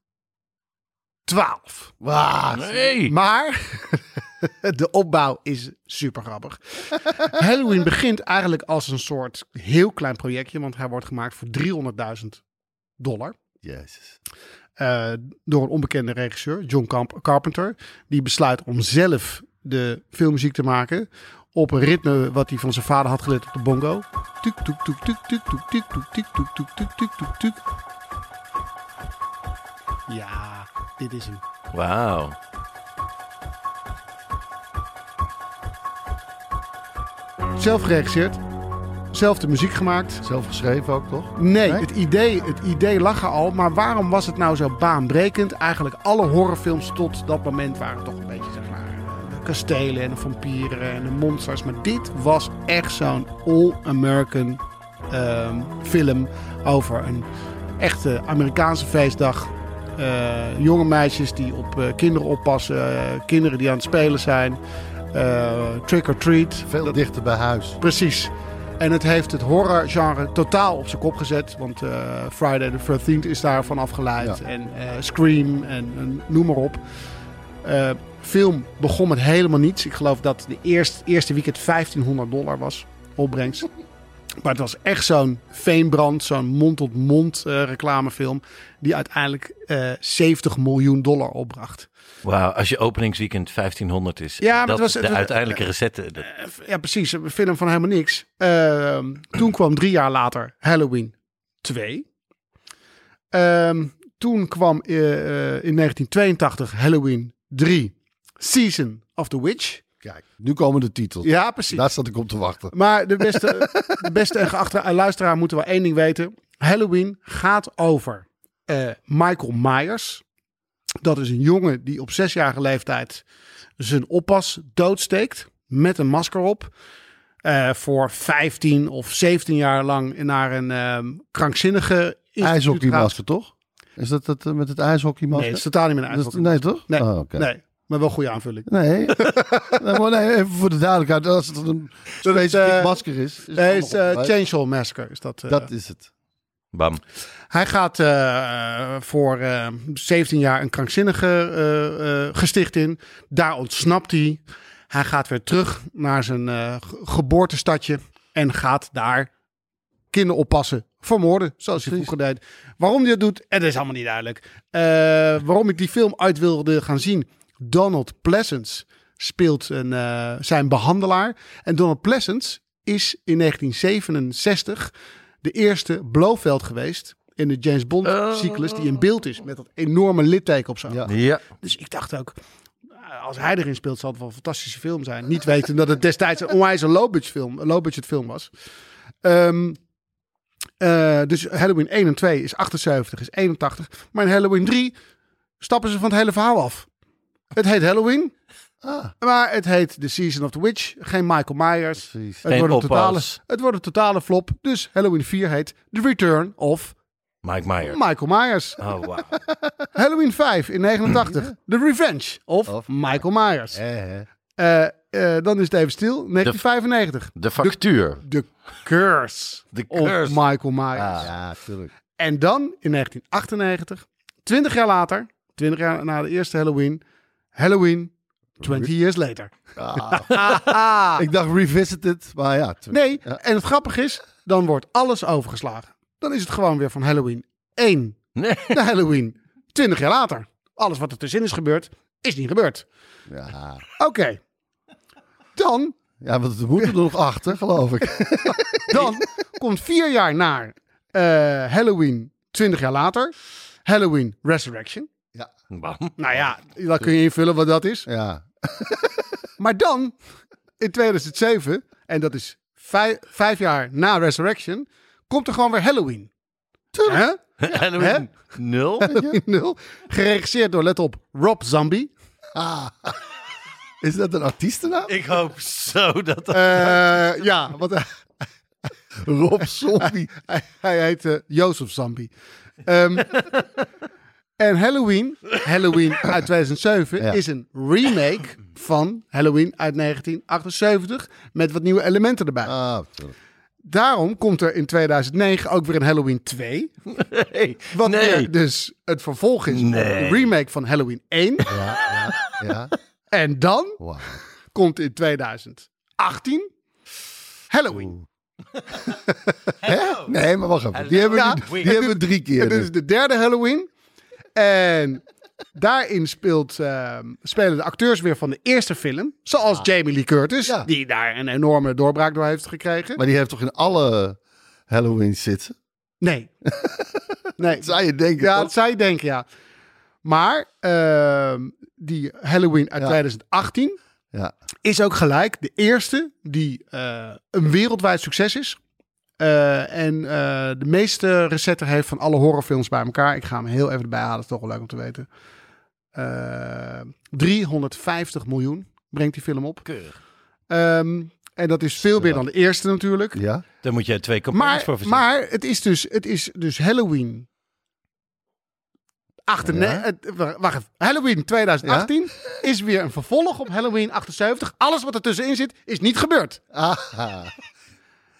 Speaker 4: twaalf.
Speaker 5: Nee!
Speaker 4: Maar de opbouw is super grappig. Halloween begint eigenlijk als een soort heel klein projectje, want hij wordt gemaakt voor 300.000 dollar.
Speaker 3: Jezus.
Speaker 4: eh, door een onbekende regisseur, John Camp- Carpenter. Die besluit om zelf de filmmuziek te maken. Op een ritme wat hij van zijn vader had geleerd op de bongo. Tuk, tuk, tuk, tuk, tuk, tuk, tuk, tuk, tuk, tuk, tuk, tuk, tuk, tuk, tuk. Ja, dit is hem.
Speaker 5: Wauw.
Speaker 4: Zelf geregisseerd. Zelf de muziek gemaakt.
Speaker 3: Zelf geschreven ook, toch?
Speaker 4: Nee,
Speaker 3: Nee?
Speaker 4: het, idee, het idee lag er al. Maar waarom was het nou zo baanbrekend? Eigenlijk alle horrorfilms tot dat moment waren toch een beetje, zeg maar... eh, de Kastelen en de vampieren en de monsters. Maar dit was echt zo'n all-American ehm, film over een echte Amerikaanse feestdag. Eh, jonge meisjes die op eh, kinderen oppassen. eh, kinderen die aan het spelen zijn. eh, trick or treat.
Speaker 3: Veel dichter bij huis.
Speaker 4: Precies. En het heeft het horrorgenre totaal op zijn kop gezet. Want eh, Friday the 13th is daarvan afgeleid.
Speaker 3: Ja.
Speaker 4: En eh, Scream en, en noem maar op. Eh, film begon met helemaal niets. Ik geloof dat de eerst, eerste weekend 1500 dollar was opbrengst. Maar het was echt zo'n veenbrand, zo'n mond-tot-mond eh, reclamefilm. Die uiteindelijk eh 70 miljoen dollar opbracht.
Speaker 5: Wauw, als je openingsweekend 1500 is.
Speaker 4: Ja, maar
Speaker 5: dat
Speaker 4: het was-
Speaker 5: is de
Speaker 4: het was-
Speaker 5: uiteindelijke recette. Dat-
Speaker 4: ja, precies. Een film van helemaal niks. Ehm, toen kwam drie jaar later Halloween 2. Ehm, toen kwam eh, eh, in 1982 Halloween 3. Season of the Witch.
Speaker 3: Kijk, nu komen de titels.
Speaker 4: Ja, precies.
Speaker 3: Daar zat ik op te wachten.
Speaker 4: Maar de beste, de beste en geachte eh, luisteraar moeten wel één ding weten. Halloween gaat over eh, Michael Myers. Dat is een jongen die op zesjarige leeftijd zijn oppas doodsteekt met een masker op. Eh, voor 15 of 17 jaar lang naar een ehm, krankzinnige instituut gaat.
Speaker 3: IJshockeymasker, toch? Is dat, dat eh, met het ijshockeymasker?
Speaker 4: Nee, het is totaal niet meer een
Speaker 3: Dat-
Speaker 4: ijshockey.
Speaker 3: Nee, toch?
Speaker 4: Nee,
Speaker 3: Oh, oké.
Speaker 4: nee, maar wel goede aanvulling.
Speaker 3: Nee. nee, maar nee, even voor de duidelijkheid. Als het een specifiek
Speaker 4: eh,
Speaker 3: masker is. is het
Speaker 4: Nee, het is eh,
Speaker 3: allemaal goed.
Speaker 4: Chainsaw Massacre. Is dat, eh,
Speaker 3: Dat is het.
Speaker 5: Bam.
Speaker 4: Hij gaat eh, voor eh, 17 jaar een krankzinnige eh, eh, gesticht in. Daar ontsnapt hij. Hij gaat weer terug naar zijn eh, ge- geboortestadje. En gaat daar kinderen oppassen. Vermoorden, zoals hij vroeger deed. Waarom hij dat doet, het is allemaal niet duidelijk. Eh, waarom ik die film uit wilde gaan zien. Donald Pleasance speelt een, eh, zijn behandelaar. En Donald Pleasance is in 1967 de eerste Blofeld geweest in de James Bond cyclus die in beeld is met dat enorme litteken op zijn. oog.
Speaker 3: Ja.
Speaker 5: Ja.
Speaker 4: Dus ik dacht ook, als hij erin speelt, zal het wel een fantastische film zijn. Niet weten dat het destijds een onwijs een low-budget film, een low-budget film was. Ehm, eh, dus Halloween 1 en 2 is 78, is 81. Maar in Halloween 3 stappen ze van het hele verhaal af. Het heet Halloween. Maar het heet The Season of the Witch. Geen Michael Myers.
Speaker 3: Precies.
Speaker 4: Het
Speaker 5: Geen
Speaker 4: wordt, een totale,
Speaker 5: oppas.
Speaker 4: het wordt een totale flop. Dus Halloween 4 heet The Return of
Speaker 5: Mike Meyer.
Speaker 4: Michael Myers.
Speaker 5: Oh, wauw.
Speaker 4: Halloween 5 in 89. The Revenge of,
Speaker 3: Of
Speaker 4: Michael Myers.
Speaker 3: Hè, hè.
Speaker 4: Eh, eh, dan is het even stil. 1995.
Speaker 5: De factuur.
Speaker 4: The Curse,
Speaker 5: De
Speaker 4: of
Speaker 5: curse.
Speaker 4: Michael Myers.
Speaker 3: Ah, ja, tuurlijk.
Speaker 4: En dan in 1998, 20 jaar later, 20 jaar na de eerste Halloween, Halloween 20 years later.
Speaker 3: Ik dacht revisited, maar ja. tu-
Speaker 4: Nee,
Speaker 3: Ja.
Speaker 4: en het grappige is, dan wordt alles overgeslagen. Dan is het gewoon weer van Halloween 1
Speaker 5: Nee.
Speaker 4: naar Halloween 20 jaar later. Alles wat er tussenin is gebeurd, is niet gebeurd.
Speaker 3: Ja.
Speaker 4: Oké. Dan,
Speaker 3: ja, want we moeten er nog achter, geloof ik.
Speaker 4: dan komt vier jaar naar eh, Halloween 20 jaar later, Halloween Resurrection.
Speaker 5: Bam.
Speaker 4: Nou ja, dan kun je invullen wat dat is.
Speaker 3: Ja.
Speaker 4: Maar dan, in 2007, en dat is vijf, vijf jaar na Resurrection, komt er gewoon weer Halloween. Hè?
Speaker 5: Halloween nul.
Speaker 4: Halloween 0. Geregisseerd door, let op, Rob Zombie.
Speaker 3: Is dat een artiestennaam?
Speaker 5: Ik hoop zo dat dat...
Speaker 4: Eh, ja, want hij,
Speaker 3: Rob Zombie.
Speaker 4: hij- hij heet eh, Jozef Zombie. Ehm, en Halloween, Halloween uit 2007,
Speaker 3: Ja.
Speaker 4: is een remake van Halloween uit 1978 met wat nieuwe elementen erbij.
Speaker 3: Ah, tuurlijk.
Speaker 4: Daarom komt er in 2009 ook weer een Halloween 2.
Speaker 5: Nee.
Speaker 4: Wat
Speaker 5: nee.
Speaker 4: weer dus het vervolg is.
Speaker 5: Nee.
Speaker 4: Een remake van Halloween 1.
Speaker 3: Ja,
Speaker 4: En dan
Speaker 3: wauw.
Speaker 4: komt in 2018 Halloween.
Speaker 5: oh.
Speaker 3: Nee, maar wacht even. Die hebben,
Speaker 4: Ja.
Speaker 3: we nu- die hebben we drie
Speaker 4: En
Speaker 3: keer. dus.
Speaker 4: dit
Speaker 3: nu.
Speaker 4: is de derde Halloween. En daarin speelt, ehm, spelen de acteurs weer van de eerste film. Zoals Jamie Lee Curtis,
Speaker 3: Ah. Ja.
Speaker 4: die daar een enorme doorbraak door heeft gekregen.
Speaker 3: Maar die heeft toch in alle Halloween zitten?
Speaker 4: nee. nee.
Speaker 3: Dat zou je denken.
Speaker 4: Ja,
Speaker 3: toch?
Speaker 4: dat zou je denken, ja. Maar ehm, die Halloween uit
Speaker 3: Ja.
Speaker 4: 2018
Speaker 3: ja.
Speaker 4: is ook gelijk de eerste die eh, een wereldwijd succes is. Eh, en eh, de meeste recetten heeft van alle horrorfilms bij elkaar. Ik ga hem heel even erbij halen, is toch wel leuk om te weten. Eh, 350 miljoen brengt die film op.
Speaker 5: Keurig.
Speaker 4: Ehm, en dat is veel meer dan de eerste natuurlijk.
Speaker 3: ja.
Speaker 5: Daar moet jij twee campagnes
Speaker 4: Maar,
Speaker 5: voor verzinnen.
Speaker 4: maar het, is dus, het is dus Halloween. Achter, nee, het- wacht wacht even. Halloween 2018 is weer een vervolg op Halloween 78. Alles wat ertussenin zit, is niet gebeurd.
Speaker 3: Ah,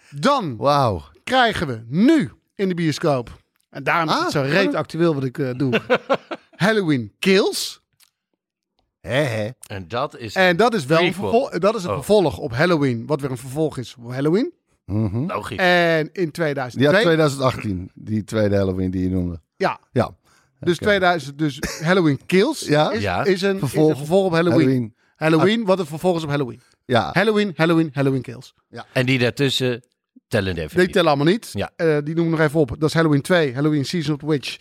Speaker 4: Dan
Speaker 3: wauw.
Speaker 4: krijgen we nu in de bioscoop. En daarom is het
Speaker 3: Ah,
Speaker 4: zo reet actueel wat ik eh, doe. Halloween Kills.
Speaker 3: Hè, hè.
Speaker 5: En dat is...
Speaker 4: En dat is wel een,
Speaker 5: Prequel.
Speaker 4: vervol- dat is een
Speaker 5: Oh.
Speaker 4: vervolg op Halloween. Wat weer een vervolg is op Halloween.
Speaker 5: Logisch.
Speaker 4: En in
Speaker 3: Die had
Speaker 4: 2002.
Speaker 3: 2018, die tweede Halloween die je noemde.
Speaker 4: Ja,
Speaker 3: Ja.
Speaker 4: Dus, 2000, dus Halloween Kills
Speaker 3: Ja?
Speaker 4: is,
Speaker 5: Ja.
Speaker 4: is een vervolg,
Speaker 3: Vervolg.
Speaker 4: is een vervolg op Halloween. Halloween,
Speaker 3: Halloween.
Speaker 4: wat een vervolg is op Halloween.
Speaker 3: Ja.
Speaker 4: Halloween, Halloween, Halloween Kills.
Speaker 5: En die daartussen tellen even
Speaker 4: Die
Speaker 5: niet.
Speaker 4: tellen allemaal niet.
Speaker 5: Ja.
Speaker 4: Eh, die noem ik nog even op. Dat is Halloween 2, Halloween Season of the Witch,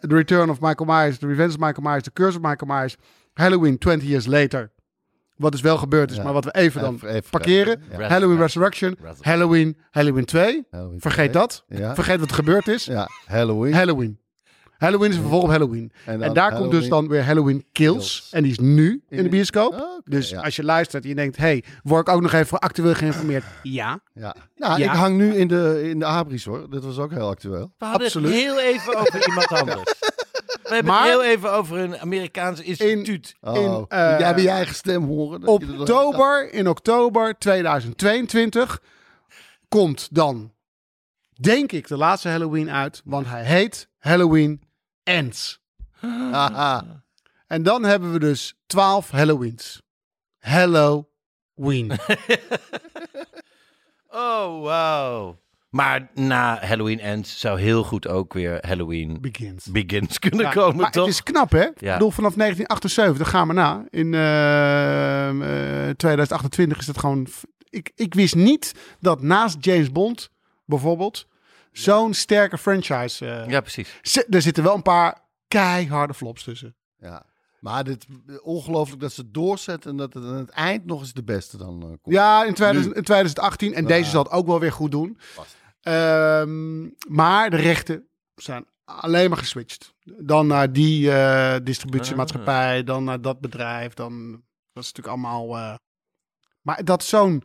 Speaker 4: The Return of Michael Myers, The Revenge of Michael Myers, The Curse of Michael Myers, Halloween 20 Years Later. Wat dus wel gebeurd is, maar wat we even dan
Speaker 3: Even- even-
Speaker 4: parkeren.
Speaker 3: ja.
Speaker 4: Halloween Resurrection,
Speaker 5: Resurrection.
Speaker 4: Halloween, Halloween 2.
Speaker 3: Halloween
Speaker 4: Vergeet
Speaker 3: 2.
Speaker 4: dat.
Speaker 3: Ja.
Speaker 4: Vergeet wat er gebeurd is.
Speaker 3: Ja, Halloween.
Speaker 4: Halloween. Halloween is een vervolg op Halloween.
Speaker 3: En
Speaker 4: En,
Speaker 3: dan
Speaker 4: daar komt dus
Speaker 3: Halloween-
Speaker 4: dan weer Halloween Kills.
Speaker 3: Kills. Oh,
Speaker 4: En die is nu in de bioscoop.
Speaker 3: Oké,
Speaker 4: dus
Speaker 3: ja.
Speaker 4: als je luistert en je denkt... hey, word ik ook nog even actueel geïnformeerd? Ja.
Speaker 3: Ja. Nou,
Speaker 4: Ja.
Speaker 3: ik hang nu in de, in de abris hoor. Dat was ook heel actueel.
Speaker 5: We hadden
Speaker 4: Absoluut.
Speaker 5: het heel even over iemand anders. We hebben
Speaker 4: Maar-
Speaker 5: het heel even over een Amerikaans instituut.
Speaker 3: Oh.
Speaker 4: In, eh,
Speaker 3: jij wil je eigen stem horen. dat je er dan-
Speaker 4: Oktober, in oktober 2022 komt dan, denk ik, de laatste Halloween uit. Want hij heet Halloween Ends.
Speaker 3: Haha.
Speaker 4: En dan hebben we dus 12 Halloweens. Halloween.
Speaker 5: Oh, wow. Maar na Halloween Ends zou heel goed ook weer Halloween
Speaker 4: Begins.
Speaker 5: Begins kunnen
Speaker 4: Ja,
Speaker 5: komen,
Speaker 4: maar
Speaker 5: Oh, toch?
Speaker 4: Het is knap, hè? Ik
Speaker 5: Ja.
Speaker 4: bedoel, vanaf 1978 gaan we na. In eh, eh, 2028 is dat gewoon. f- Ik, ik wist niet dat naast James Bond bijvoorbeeld zo'n sterke franchise. eh,
Speaker 5: Ja, precies.
Speaker 4: zi- Er zitten wel een paar keiharde flops tussen.
Speaker 3: Ja. Maar dit, ongelooflijk dat ze doorzetten en dat het aan het eind nog eens de beste dan eh, komt.
Speaker 4: Ja, in, 2000 in 2018. En deze zal het ook wel weer goed doen.
Speaker 3: Ah. Past.
Speaker 4: Ehm, maar de rechten zijn alleen maar geswitcht. Dan naar die eh, distributiemaatschappij,
Speaker 3: Ah.
Speaker 4: dan naar dat bedrijf. Dan, dat is natuurlijk allemaal... eh, maar dat is zo'n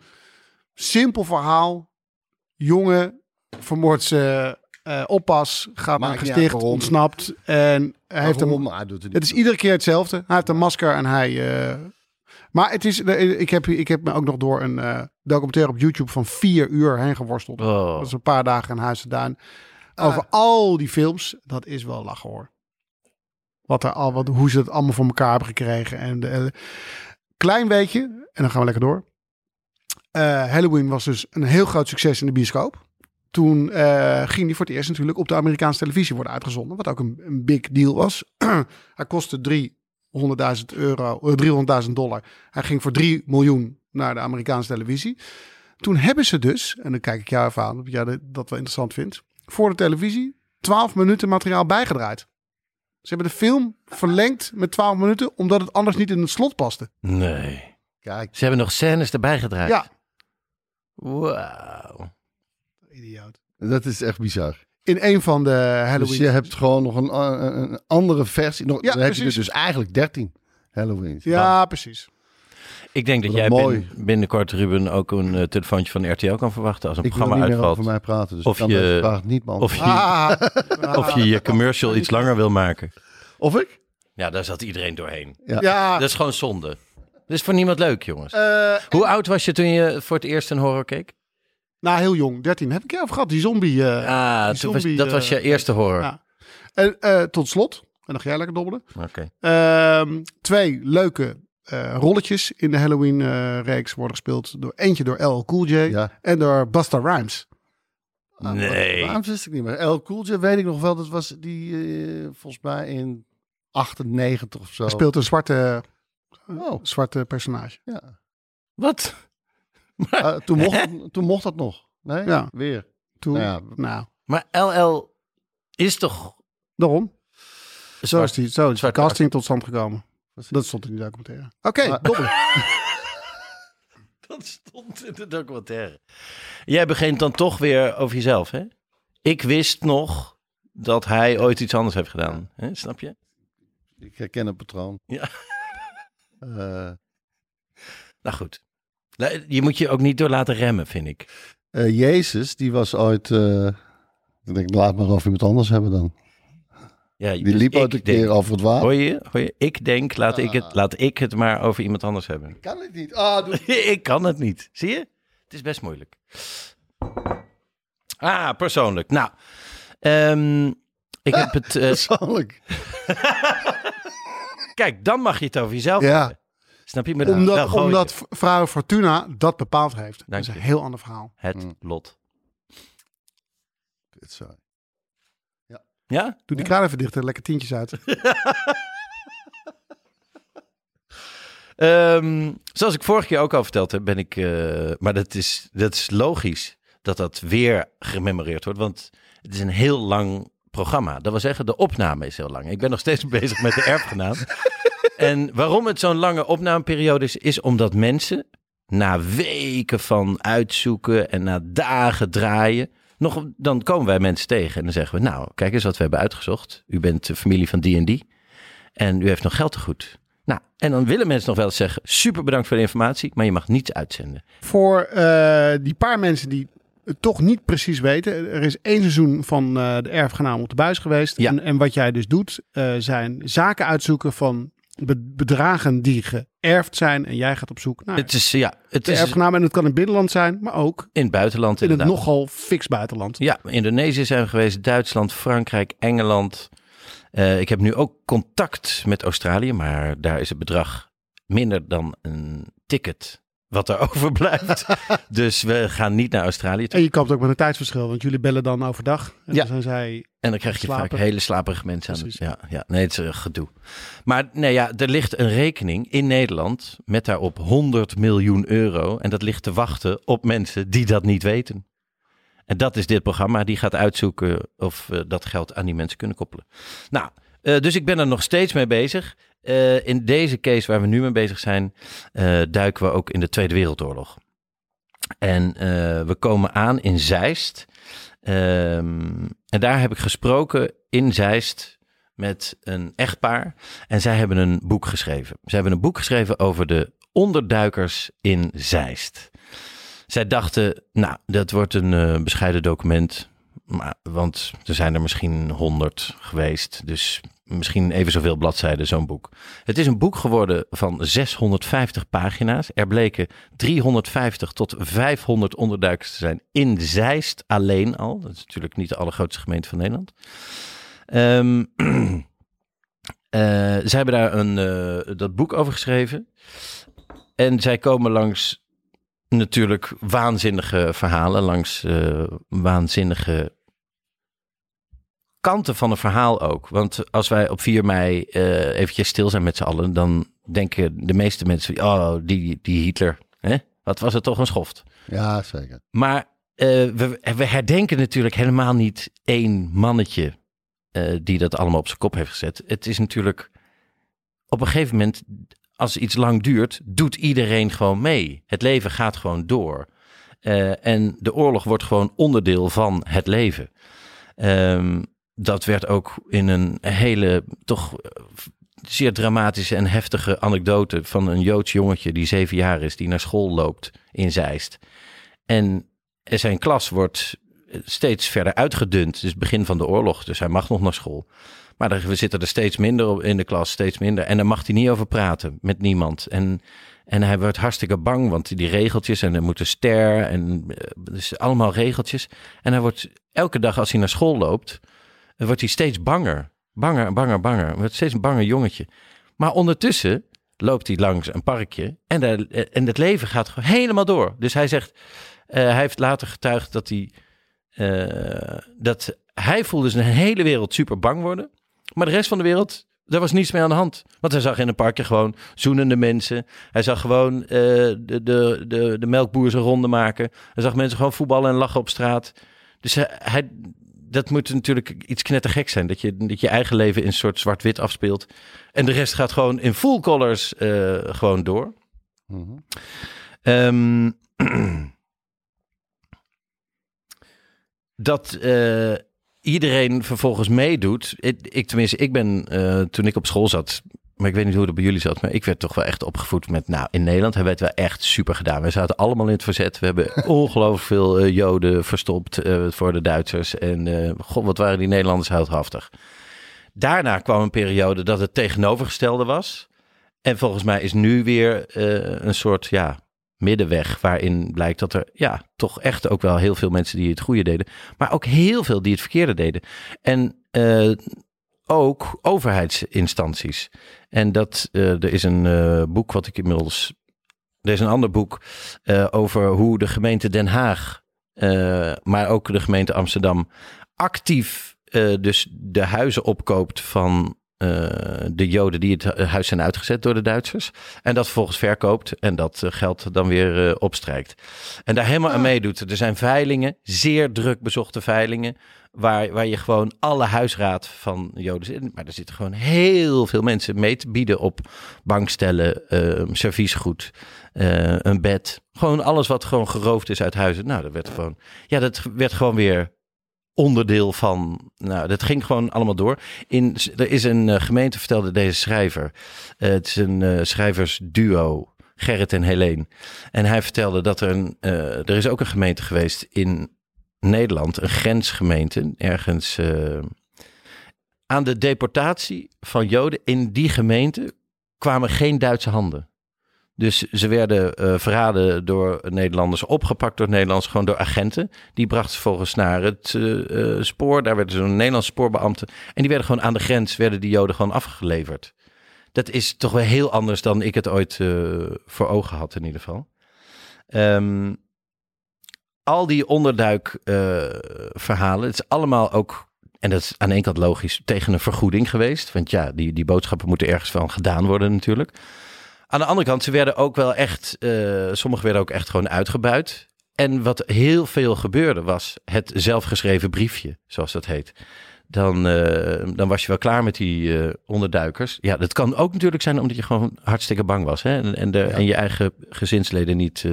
Speaker 4: simpel verhaal. Jongen vermoordt zijn eh, oppas, gaat naar
Speaker 3: Maakt
Speaker 4: een
Speaker 3: niet uit
Speaker 4: gesticht,
Speaker 3: waarom.
Speaker 4: ontsnapt. En hij heeft hem
Speaker 3: maar hij Ah, doet het niet.
Speaker 4: het is iedere keer hetzelfde. Hij heeft een masker en hij. eh, Maar het is. eh, Ik heb, ik heb me ook nog door een eh, documentaire op YouTube van vier uur heen geworsteld.
Speaker 5: Oh.
Speaker 4: Dat is een paar dagen in Huis en Duin. Over al die films. Dat is wel lachen hoor. Wat er al, wat, hoe ze het allemaal voor elkaar hebben gekregen. En de, eh, klein beetje. En dan gaan we lekker door. Eh, Halloween was dus een heel groot succes in de bioscoop. Toen eh, ging die voor het eerst natuurlijk op de Amerikaanse televisie worden uitgezonden. Wat ook een, een big deal was. Hij kostte 300.000 euro, eh, 300.000 dollar. Hij ging voor 3 miljoen naar de Amerikaanse televisie. Toen hebben ze dus, en dan kijk ik jou even aan, omdat jij dit- dat wel interessant vindt, voor de televisie 12 minuten materiaal bijgedraaid. Ze hebben de film verlengd met 12 minuten, omdat het anders niet in het slot paste.
Speaker 5: Nee.
Speaker 3: Kijk,
Speaker 5: Ze hebben nog scènes erbij gedraaid.
Speaker 4: Ja,
Speaker 5: Wauw.
Speaker 4: idioot.
Speaker 3: dat is echt bizar.
Speaker 4: In een van de Halloween.
Speaker 3: Dus je hebt gewoon nog een, a- een andere versie. Nog,
Speaker 4: Ja,
Speaker 3: dan heb je er
Speaker 4: precies.
Speaker 3: dus eigenlijk 13 Halloween.
Speaker 4: ja, precies.
Speaker 5: Ik denk dat
Speaker 3: Wat
Speaker 5: jij
Speaker 3: mooi.
Speaker 5: bin- binnenkort, Ruben, ook een eh, telefoontje van RTL kan verwachten als een
Speaker 3: Ik wil niet
Speaker 5: programma
Speaker 3: meer over
Speaker 5: uitvalt.
Speaker 3: mij praten, dus
Speaker 5: Of
Speaker 3: ik kan
Speaker 5: je-
Speaker 3: deze vraag niet
Speaker 5: Of
Speaker 3: beantwoorden.
Speaker 5: je,
Speaker 4: Ah,
Speaker 5: of je je commercial iets langer wil maken.
Speaker 3: Of, ik?
Speaker 5: Ja, daar zat iedereen doorheen.
Speaker 4: ja.
Speaker 5: Dat is gewoon zonde. Dat is voor niemand leuk, jongens.
Speaker 4: eh,
Speaker 5: Hoe oud was je toen je voor het eerst een horror keek?
Speaker 4: nou, heel jong, 13. Heb ik je over gehad, die zombie. eh,
Speaker 5: Ah,
Speaker 4: die
Speaker 5: toen was,
Speaker 4: zombie,
Speaker 5: dat
Speaker 4: eh,
Speaker 5: was je eerste horror.
Speaker 4: ja. En, eh, tot slot, en dan ga jij lekker dobbelen.
Speaker 5: Oké.
Speaker 4: Ehm, twee leuke eh, rolletjes in de Halloween-reeks worden gespeeld. Door, eentje door LL Cool J
Speaker 3: Ja. Oh.
Speaker 4: en door Basta Rhymes.
Speaker 5: Nee.
Speaker 3: Waarom wist ik niet meer? El Cool J weet ik nog wel. Dat was die eh, volgens mij in 98 of zo.
Speaker 4: Hij speelt een zwarte, eh,
Speaker 3: Oh,
Speaker 4: zwarte personage.
Speaker 3: ja.
Speaker 5: Wat?
Speaker 3: Ah, toen, mocht, toen mocht dat nog. Nee?
Speaker 4: Ja.
Speaker 3: Weer.
Speaker 4: Toen,
Speaker 3: Nou
Speaker 4: nou,
Speaker 3: ja.
Speaker 5: Maar LL is toch...
Speaker 4: daarom. Zo is
Speaker 5: zwart?
Speaker 4: die, zo is die
Speaker 5: zwarte
Speaker 4: casting tot stand gekomen. Dat stond in die documentaire. Oké,
Speaker 3: Ah,
Speaker 4: dobbelen.
Speaker 5: Dat stond in de documentaire. Jij begint dan toch weer over jezelf, hè? Ik wist nog dat hij ooit iets anders heeft gedaan. Hè? Snap je?
Speaker 3: Ik herken een patroon.
Speaker 5: Ja.
Speaker 3: Eh,
Speaker 5: Nou goed. Nou, Je moet je ook niet door laten remmen, vind ik.
Speaker 3: eh, Jezus, die was ooit... eh, ik denk, laat maar over iemand anders hebben dan.
Speaker 5: Ja,
Speaker 3: Die
Speaker 5: dus
Speaker 3: liep
Speaker 5: ik
Speaker 3: ooit een
Speaker 5: denk-
Speaker 3: keer over het water.
Speaker 5: Hoor je? Hoor je? Ik denk, laat, ik het, laat ik het maar over iemand anders hebben.
Speaker 3: Kan het niet. Ah, doe-
Speaker 5: ik kan het niet. Zie je? Het is best moeilijk. Ah, persoonlijk. Nou, ehm, ik heb het... eh,
Speaker 3: persoonlijk.
Speaker 5: kijk, dan mag je het over jezelf
Speaker 3: Ja.
Speaker 5: hebben. Snap je? Maar dan- dan
Speaker 4: Omdat,
Speaker 5: gooi je
Speaker 4: omdat v- vrouw Fortuna dat bepaald heeft.
Speaker 5: Dank
Speaker 4: dat is een
Speaker 5: je.
Speaker 4: heel ander verhaal.
Speaker 5: Het lot.
Speaker 3: Kut, sorry.
Speaker 5: Ja?
Speaker 4: Doe die kraan even dicht en lekker tientjes uit.
Speaker 5: Ehm, zoals ik vorig keer ook al verteld heb, ben ik... eh, maar dat is, dat is logisch dat dat weer gememoreerd wordt. Want het is een heel lang programma. Dat wil zeggen, de opname is heel lang. Ik ben nog steeds bezig met de erfgenaam. en waarom het zo'n lange opnameperiode is, is omdat mensen na weken van uitzoeken en na dagen draaien. Nog, dan komen wij mensen tegen en dan zeggen we: Nou, kijk eens wat we hebben uitgezocht. U bent de familie van die en die. En u heeft nog geld te goed. Nou, en dan willen mensen nog wel eens zeggen: Super bedankt voor de informatie, maar je mag niets uitzenden.
Speaker 4: voor eh, die paar mensen die het toch niet precies weten. Er is één seizoen van eh, de erfgenaam op de buis geweest.
Speaker 5: Ja.
Speaker 4: En, en wat jij dus doet, eh, zijn zaken uitzoeken van be- bedragen die geërfd zijn. En jij gaat op zoek naar
Speaker 5: Het is, eh, ja, het
Speaker 4: de
Speaker 5: is
Speaker 4: erfgenaam. En het kan in het binnenland zijn, maar ook
Speaker 5: in het buitenland.
Speaker 4: in het
Speaker 5: inderdaad.
Speaker 4: nogal fix buitenland.
Speaker 5: Ja, Indonesië zijn we geweest, Duitsland, Frankrijk, Engeland. Eh, ik heb nu ook contact met Australië, maar daar is het bedrag minder dan een ticket wat er overblijft. dus we gaan niet naar Australië toe.
Speaker 4: En je kampt ook met een tijdsverschil, want jullie bellen dan overdag. En
Speaker 5: Ja.
Speaker 4: dan zijn zij...
Speaker 5: En dan krijg je vaak
Speaker 4: slapen.
Speaker 5: hele slaperige mensen aan.
Speaker 4: Precies.
Speaker 5: Ja, ja, nee, het is een gedoe. Maar nee, ja, er ligt een rekening in Nederland met daarop 100 miljoen euro. En dat ligt te wachten op mensen die dat niet weten. En dat is dit programma. Die gaat uitzoeken of we dat geld aan die mensen kunnen koppelen. Nou, eh, dus ik ben er nog steeds mee bezig. Eh, eh, in deze case waar we nu mee bezig zijn, eh, duiken we ook in de Tweede Wereldoorlog. En eh, we komen aan in Zeist. Ehm, en daar heb ik gesproken in Zeist met een echtpaar. En zij hebben een boek geschreven. Ze hebben een boek geschreven over de onderduikers in Zeist. Zij dachten, nou, dat wordt een eh, bescheiden document. Maar, want er zijn er misschien honderd geweest. Dus misschien even zoveel bladzijden, zo'n boek. Het is een boek geworden van 650 pagina's. Er bleken 350 tot 500 onderduikers te zijn in Zeist alleen al. Dat is natuurlijk niet de allergrootste gemeente van Nederland. Ehm eh, zij hebben daar een, eh, dat boek over geschreven. En zij komen langs natuurlijk waanzinnige verhalen, langs eh, waanzinnige kanten van een verhaal ook. Want als wij op 4 mei eh eventjes stil zijn met z'n allen, dan denken de meeste mensen, oh, die, die Hitler, hè? wat was het toch een schoft.
Speaker 3: Ja, zeker.
Speaker 5: Maar eh, we, we herdenken natuurlijk helemaal niet één mannetje eh, die dat allemaal op zijn kop heeft gezet. Het is natuurlijk op een gegeven moment, als iets lang duurt, doet iedereen gewoon mee. Het leven gaat gewoon door. Eh, en de oorlog wordt gewoon onderdeel van het leven. Ehm, dat werd ook in een hele toch eh, zeer dramatische en heftige anekdote van een Joods jongetje die zeven jaar is, die naar school loopt in Zeist. En zijn klas wordt steeds verder uitgedund. Dus begin van de oorlog, dus hij mag nog naar school. Maar er, we zitten er steeds minder op in de klas, steeds minder. En daar mag hij niet over praten met niemand. En, en hij wordt hartstikke bang, want die regeltjes en er moet een ster en eh, dus allemaal regeltjes. En hij wordt elke dag als hij naar school loopt, eh, wordt hij steeds banger. Banger, en banger, banger. Hij wordt steeds een banger jongetje. Maar ondertussen loopt hij langs een parkje en, daar, eh, en het leven gaat gewoon helemaal door. Dus hij zegt, eh, hij heeft later getuigd dat hij eh, dat hij voelde zijn hele wereld super bang worden. Maar de rest van de wereld, daar was niets mee aan de hand. Want hij zag in een parkje gewoon zoenende mensen. Hij zag gewoon eh, de, de, de, de melkboer zijn ronde maken. Hij zag mensen gewoon voetballen en lachen op straat. Dus hij, hij- dat moet natuurlijk iets knettergek zijn. Dat je, dat je eigen leven in een soort zwart-wit afspeelt. En de rest gaat gewoon in full colors eh, gewoon door. Ehm dat eh, iedereen vervolgens meedoet. Ik, ik tenminste, ik ben eh, toen ik op school zat. Maar ik weet niet hoe dat bij jullie zat. Maar ik werd toch wel echt opgevoed met. Nou, in Nederland hebben we het wel echt super gedaan. We zaten allemaal in het verzet. We hebben ongelooflijk veel eh, Joden verstopt eh, voor de Duitsers. En eh, god, wat waren die Nederlanders houdhaftig. Daarna kwam een periode dat het tegenovergestelde was. En volgens mij is nu weer eh, een soort ja, middenweg waarin blijkt dat er ja, toch echt ook wel heel veel mensen die het goede deden, maar ook heel veel die het verkeerde deden. En eh, ook overheidsinstanties. En dat, eh, er is een eh, boek wat ik inmiddels. Er is een ander boek eh, over hoe de gemeente Den Haag, eh, maar ook de gemeente Amsterdam, actief eh, dus de huizen opkoopt van eh, de Joden die het hu- huis zijn uitgezet door de Duitsers. En dat vervolgens verkoopt en dat eh, geld dan weer eh, opstrijkt. En daar helemaal aan meedoet. Er zijn veilingen, zeer druk bezochte veilingen, waar, waar je gewoon alle huisraad van Joden zit. Maar er zitten gewoon heel veel mensen mee te bieden op bankstellen, eh, serviesgoed, eh, een bed. Gewoon alles wat gewoon geroofd is uit huizen. Nou, dat werd gewoon, ja, dat werd gewoon weer onderdeel van. Nou, dat ging gewoon allemaal door. In, er is een eh, gemeente, vertelde deze schrijver. Eh, het is een eh, schrijversduo, Gerrit en Helene. En hij vertelde dat er een. eh, er is ook een gemeente geweest in Nederland, een grensgemeente, ergens. eh, aan de deportatie van Joden in die gemeente kwamen geen Duitse handen. Dus ze werden eh, verraden door Nederlanders, opgepakt door Nederlanders, gewoon door agenten. Die brachten ze volgens naar het eh, eh, spoor. Daar werden ze een Nederlandse spoorbeambte. En die werden gewoon aan de grens, werden die Joden gewoon afgeleverd. Dat is toch wel heel anders dan ik het ooit eh, voor ogen had in ieder geval. Ehm, al die onderduikverhalen, verhalen, het is allemaal ook, en dat is aan de ene kant logisch, tegen een vergoeding geweest. Want ja, die, die boodschappen moeten ergens van gedaan worden natuurlijk. Aan de andere kant, ze werden ook wel echt, eh, sommigen werden ook echt gewoon uitgebuit. En wat heel veel gebeurde was het zelfgeschreven briefje, zoals dat heet. dan, eh, dan was je wel klaar met die eh, onderduikers. Ja, dat kan ook natuurlijk zijn omdat je gewoon hartstikke bang was. Hè? En, en, de, en je eigen gezinsleden niet eh,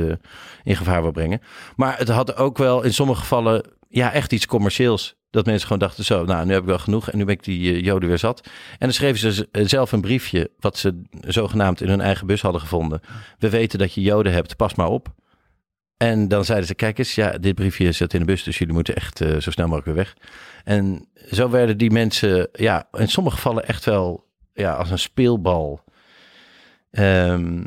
Speaker 5: in gevaar wil brengen. Maar het had ook wel in sommige gevallen ja, echt iets commercieels. Dat mensen gewoon dachten, zo, nou, nu heb ik wel genoeg en nu ben ik die eh, joden weer zat. En dan schreven ze z- eh, zelf een briefje, wat ze zogenaamd in hun eigen bus hadden gevonden. We weten dat je joden hebt, pas maar op. En dan zeiden ze, kijk eens, ja, dit briefje zit in de bus, dus jullie moeten echt eh, zo snel mogelijk weer weg. En zo werden die mensen, ja, in sommige gevallen echt wel ja, als een speelbal. Ehm,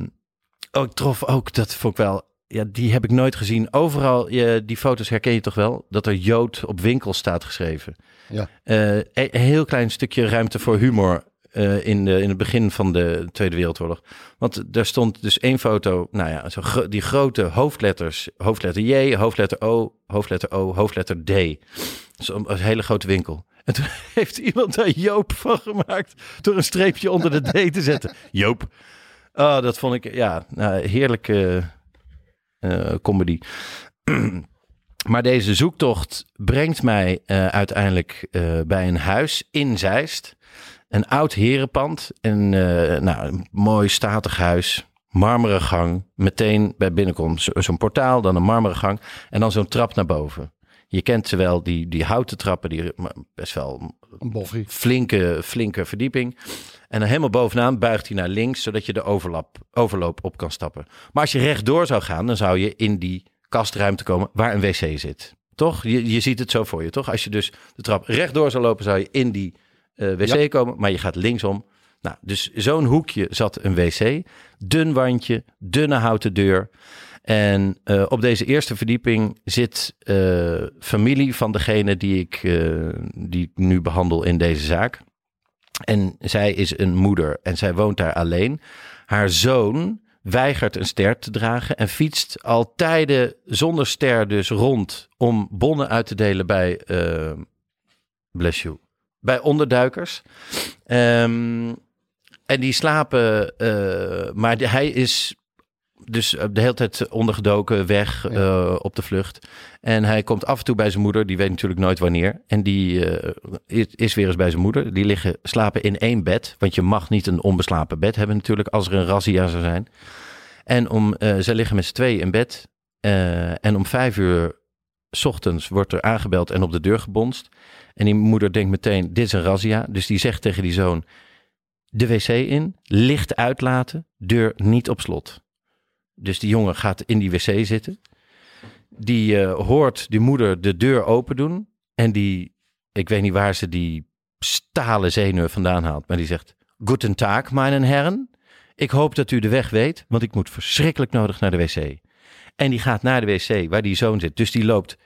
Speaker 5: oh, ik trof ook, dat vond ik wel, ja, die heb ik nooit gezien. Overal, je, die foto's herken je toch wel, dat er Jood op winkel staat geschreven.
Speaker 3: Ja.
Speaker 5: Eh, een een heel klein stukje ruimte voor humor eh, in, de, in het begin van de Tweede Wereldoorlog. Want daar stond dus één foto, nou ja, zo gro- die grote hoofdletters. Hoofdletter J, hoofdletter O, hoofdletter O, hoofdletter D. Dus een, een hele grote winkel. En toen heeft iemand daar Joop van gemaakt door een streepje onder de D te zetten. Joop. Ah, dat vond ik, ja, nou, heerlijke eh, comedy. Maar deze zoektocht brengt mij eh, uiteindelijk eh, bij een huis in Zeist. Een oud herenpand. Een, eh, nou, een mooi statig huis. Marmeren gang. Meteen bij binnenkomst zo- zo'n portaal, dan een marmeren gang. En dan zo'n trap naar boven. Je kent ze wel, die, die houten trappen, die maar best wel
Speaker 3: Een boffie.
Speaker 5: flinke, flinke verdieping. En dan helemaal bovenaan buigt hij naar links, zodat je de overlap, overloop op kan stappen. Maar als je rechtdoor zou gaan, dan zou je in die kastruimte komen waar een wc zit. Toch? Je, je ziet het zo voor je, toch? Als je dus de trap rechtdoor zou lopen, zou je in die eh, wc komen, maar je gaat linksom. Nou, dus zo'n hoekje zat een wc. Dun wandje, dunne houten deur. En eh, op deze eerste verdieping zit eh, familie van degene die ik, eh, die ik nu behandel in deze zaak. En zij is een moeder en zij woont daar alleen. Haar zoon weigert een ster te dragen en fietst al tijden zonder ster dus rond om bonnen uit te delen bij, eh, bless you, bij onderduikers. Ehm, en die slapen, eh, maar de- hij is dus eh, de hele tijd ondergedoken, weg eh, op de vlucht. En hij komt af en toe bij zijn moeder, die weet natuurlijk nooit wanneer. En die eh, is- is weer eens bij zijn moeder. Die liggen slapen in één bed, want je mag niet een onbeslapen bed hebben natuurlijk als er een razzia zou zijn. En om, eh zij liggen met z'n tweeën in bed. eh, en om vijf uur 's ochtends wordt er aangebeld en op de deur gebonst. En die moeder denkt meteen, dit is een razzia. Dus die zegt tegen die zoon, de wc in, licht uitlaten, deur niet op slot. Dus die jongen gaat in die wc zitten. Die eh, hoort die moeder de deur open doen. En die, ik weet niet waar ze die stalen zenuwen vandaan haalt. Maar die zegt, Guten Tag, mijn heren. Ik hoop dat u de weg weet, want ik moet verschrikkelijk nodig naar de wc. En die gaat naar de wc waar die zoon zit. Dus die loopt.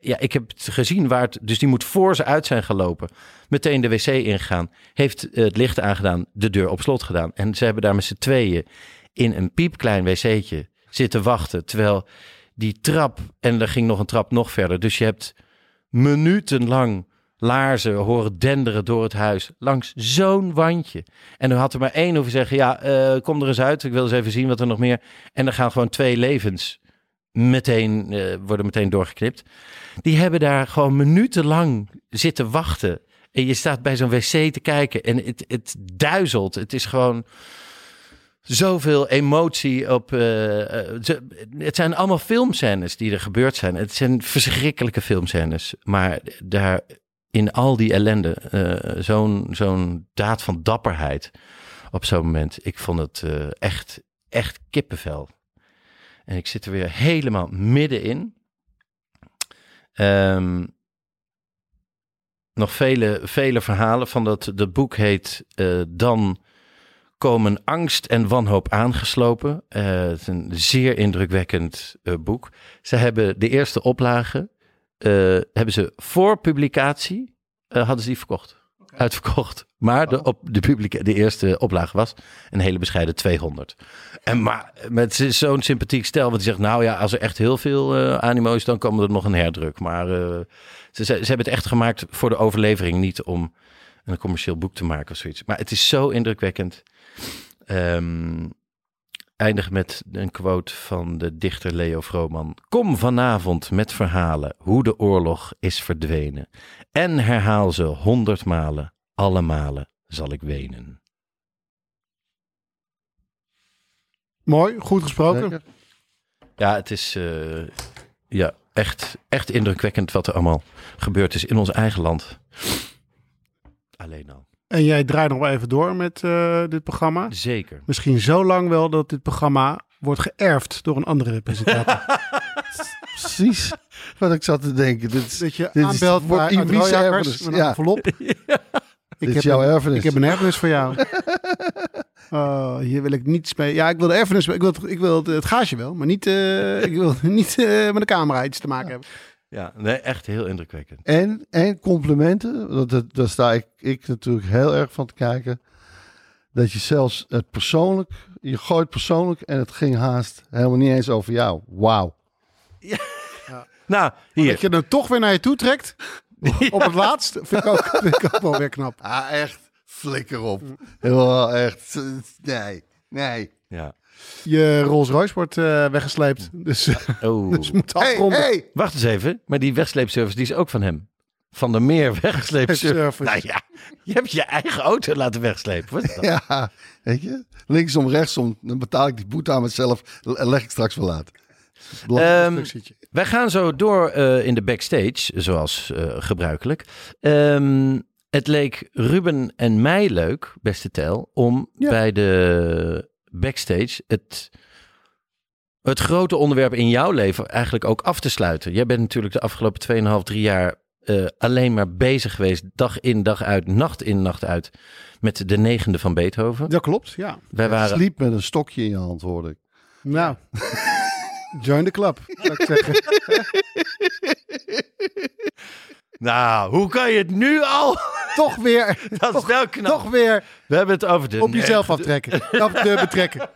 Speaker 5: Ja, ik heb het gezien waar het. Dus die moet voor ze uit zijn gelopen. Meteen de wc ingegaan. Heeft eh, het licht aangedaan. De deur op slot gedaan. En ze hebben daar met z'n tweeën in een piepklein wc'tje zitten wachten. Terwijl die trap. En er ging nog een trap nog verder. Dus je hebt minutenlang laarzen horen denderen door het huis. Langs zo'n wandje. En er had er maar één hoeven zeggen: Ja, eh, kom er eens uit. Ik wil eens even zien wat er nog meer. En er gaan gewoon twee levens meteen, eh, worden meteen doorgeknipt. Die hebben daar gewoon minutenlang zitten wachten. En je staat bij zo'n wc te kijken en het, het duizelt. Het is gewoon zoveel emotie op. eh, eh, ze- het zijn allemaal filmscènes die er gebeurd zijn. Het zijn verschrikkelijke filmscènes. Maar daar in al die ellende, eh, zo'n zo'n daad van dapperheid op zo'n moment. Ik vond het eh, echt, echt kippenvel. En ik zit er weer helemaal middenin. Ehm, nog vele, vele verhalen van dat. Dat boek heet eh, Dan komen angst en wanhoop aangeslopen. Eh, het is een zeer indrukwekkend eh, boek. Ze hebben de eerste oplage, eh, hebben ze voor publicatie, eh, hadden ze die verkocht. Uitverkocht. Maar de, op de, publica- de eerste oplage was een hele bescheiden 200. En maar met z- zo'n sympathiek stel, want die zegt, nou ja, als er echt heel veel eh, animo is, dan komen er nog een herdruk. Maar eh, ze, ze, ze hebben het echt gemaakt voor de overlevering, niet om een commercieel boek te maken of zoiets. Maar het is zo indrukwekkend. Ehm, Eindig met een quote van de dichter Leo Vrooman. Kom vanavond met verhalen hoe de oorlog is verdwenen. En herhaal ze honderd malen, alle malen zal ik wenen.
Speaker 4: Mooi, goed gesproken.
Speaker 3: Zeker.
Speaker 5: Ja, het is eh, ja, echt, echt indrukwekkend wat er allemaal gebeurd is in ons eigen land. Alleen al.
Speaker 4: En jij draait nog wel even door met eh, dit programma.
Speaker 5: Zeker.
Speaker 4: Misschien zo lang wel dat dit programma wordt geërfd door een andere presentator.
Speaker 3: Precies wat ik zat te denken. Dit is,
Speaker 4: dat je
Speaker 3: dit is,
Speaker 4: aanbelt
Speaker 3: wordt
Speaker 4: wordt
Speaker 3: in wie zijn
Speaker 4: erfenis.
Speaker 3: erfenis?
Speaker 4: Met een
Speaker 3: Ja,
Speaker 4: envelop. Ik
Speaker 3: dit is
Speaker 4: heb
Speaker 3: jouw
Speaker 4: een-
Speaker 3: erfenis.
Speaker 4: Ik heb een erfenis voor jou. Oh, hier wil ik niets mee. Ja, ik wil de erfenis. Ik wil, ik wil het, het gaasje wel, maar niet, eh, ik wil niet eh, met de camera iets te maken hebben.
Speaker 5: Ja, nee, echt heel indrukwekkend.
Speaker 3: En, en complimenten, want dat, daar sta ik, ik natuurlijk heel erg van te kijken. Dat je zelfs het persoonlijk, je gooit persoonlijk en het ging haast helemaal niet eens over jou. Wauw.
Speaker 5: Nou, hier.
Speaker 4: Dat je dan toch weer naar je toe trekt. Op het laatst vind ik, ook, vind ik ook wel weer knap.
Speaker 3: Ah, echt, flikker op. Helemaal echt, nee, nee.
Speaker 5: Ja.
Speaker 4: Je Rolls Royce wordt eh, weggesleept. Dus eh,
Speaker 5: Oh.
Speaker 4: moet afronden.
Speaker 3: hey.
Speaker 5: Wacht eens even, maar die wegsleepservice die is ook van hem. Van der Meer wegsleepservice.
Speaker 4: Service.
Speaker 5: Nou ja, je hebt je eigen auto laten wegslepen. Wat is dat?
Speaker 3: Ja, weet je, linksom, rechtsom, dan betaal ik die boete aan mezelf en leg ik straks wel uit. Belangrijk
Speaker 5: Ehm,
Speaker 3: instructietje.
Speaker 5: Wij gaan zo door eh, in de backstage, zoals eh, gebruikelijk. Ehm, het leek Ruben en mij leuk, beste Tel, om bij de backstage het, het grote onderwerp in jouw leven eigenlijk ook af te sluiten. Jij bent natuurlijk de afgelopen 2,5, 3 jaar eh, alleen maar bezig geweest, dag in, dag uit, nacht in, nacht uit, met de negende van Beethoven.
Speaker 4: Dat klopt, ja.
Speaker 5: Wij waren
Speaker 3: Sliep met een stokje in je hand, hoorde ik.
Speaker 4: Nou, join the club, zou ik zeggen.
Speaker 5: Nou, hoe kan je het nu al?
Speaker 4: Toch weer,
Speaker 5: Dat is wel knap.
Speaker 4: toch weer
Speaker 5: We hebben het over de
Speaker 4: op jezelf aftrekken.
Speaker 5: nou.
Speaker 4: Op de betrekken.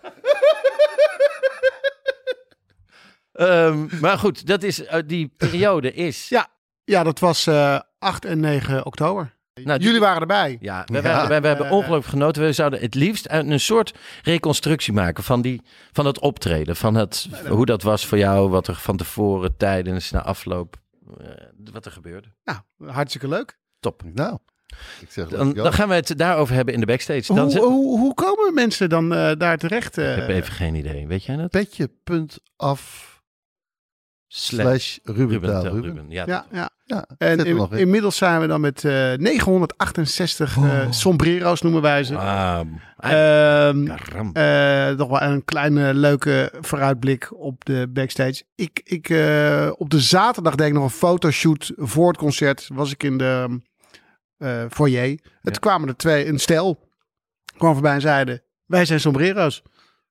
Speaker 5: Ehm, maar goed, dat is, eh, die periode is.
Speaker 4: Ja, ja dat was eh 8 en 9 oktober.
Speaker 5: Nou, die-
Speaker 4: Jullie waren erbij.
Speaker 5: Ja, we, we- we- we hebben ongelooflijk genoten. We zouden het liefst een een soort reconstructie maken van, die, van het optreden. Van het, hoe dat was voor jou, wat er van tevoren, tijdens, na afloop, eh, wat er gebeurde.
Speaker 4: Nou, hartstikke leuk.
Speaker 5: Top.
Speaker 3: Nou, ik zeg
Speaker 5: Dan, dan gaan we het daarover hebben in de backstage. Dus Dan
Speaker 4: Hoe,
Speaker 5: zit-
Speaker 4: hoe, hoe komen mensen dan eh, daar terecht? eh?
Speaker 5: ik heb even geen idee. Weet jij dat?
Speaker 3: petje.af slash Ruben,
Speaker 5: Ruben,
Speaker 3: Taal
Speaker 5: Tel
Speaker 3: Ruben.
Speaker 5: Ruben. Ja,
Speaker 4: Ja, ja.
Speaker 3: Ja,
Speaker 4: En
Speaker 3: zet hem
Speaker 4: in-
Speaker 3: nog in.
Speaker 4: inmiddels zijn we dan met eh, 968
Speaker 5: Oh.
Speaker 4: eh, sombrero's, noemen wij ze.
Speaker 5: Wauw.
Speaker 4: Ehm,
Speaker 5: ah, Karam.
Speaker 4: eh, nog wel een kleine leuke vooruitblik op de backstage. Ik, ik, eh, op de zaterdag deed ik nog een fotoshoot voor het concert. Was ik in de eh, foyer. Het kwamen er twee, een stel kwam voorbij en zeiden: Wij zijn sombrero's.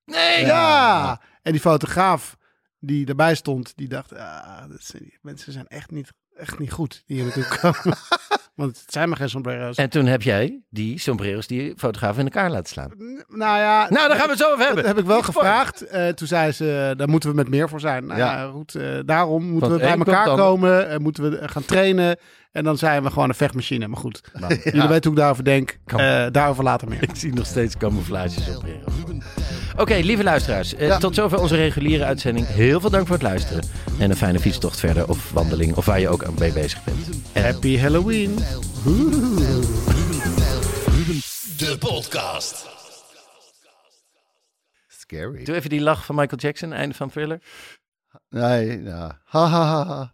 Speaker 5: Nee!
Speaker 4: Ja! En die fotograaf die erbij stond, die dacht: ah, dat zijn, die mensen zijn echt niet, echt niet goed die hier naartoe komen. Want het zijn maar geen sombrero's.
Speaker 5: En toen heb jij die sombreros die fotograaf in elkaar laten slaan.
Speaker 4: nou ja,
Speaker 5: Nou, daar gaan we het zo over hebben.
Speaker 4: Dat heb ik wel gevraagd. Eh, toen zei ze, eh, daar moeten we met meer voor zijn. Nou,
Speaker 3: Ja.
Speaker 4: ja. goed, eh, daarom moeten
Speaker 5: Want
Speaker 4: we bij
Speaker 5: één komt
Speaker 4: elkaar
Speaker 5: dan-
Speaker 4: komen. eh, moeten we eh, gaan trainen. En dan zijn we gewoon een vechtmachine. Maar goed, jullie weten hoe ik daarover denk.
Speaker 5: Nou, Kan.
Speaker 4: Eh, daarover later meer.
Speaker 5: Ik zie nog steeds camouflages op Hero. Oké, lieve luisteraars. eh, Tot zover onze reguliere uitzending. Heel veel dank voor het luisteren. En een fijne fietstocht verder of wandeling of waar je ook aan mee bezig bent. En
Speaker 4: Happy Halloween.
Speaker 3: Scary.
Speaker 5: doe even die lach van Michael Jackson, einde van Thriller.
Speaker 3: Nee, nou. Ha, ha, ha, ha.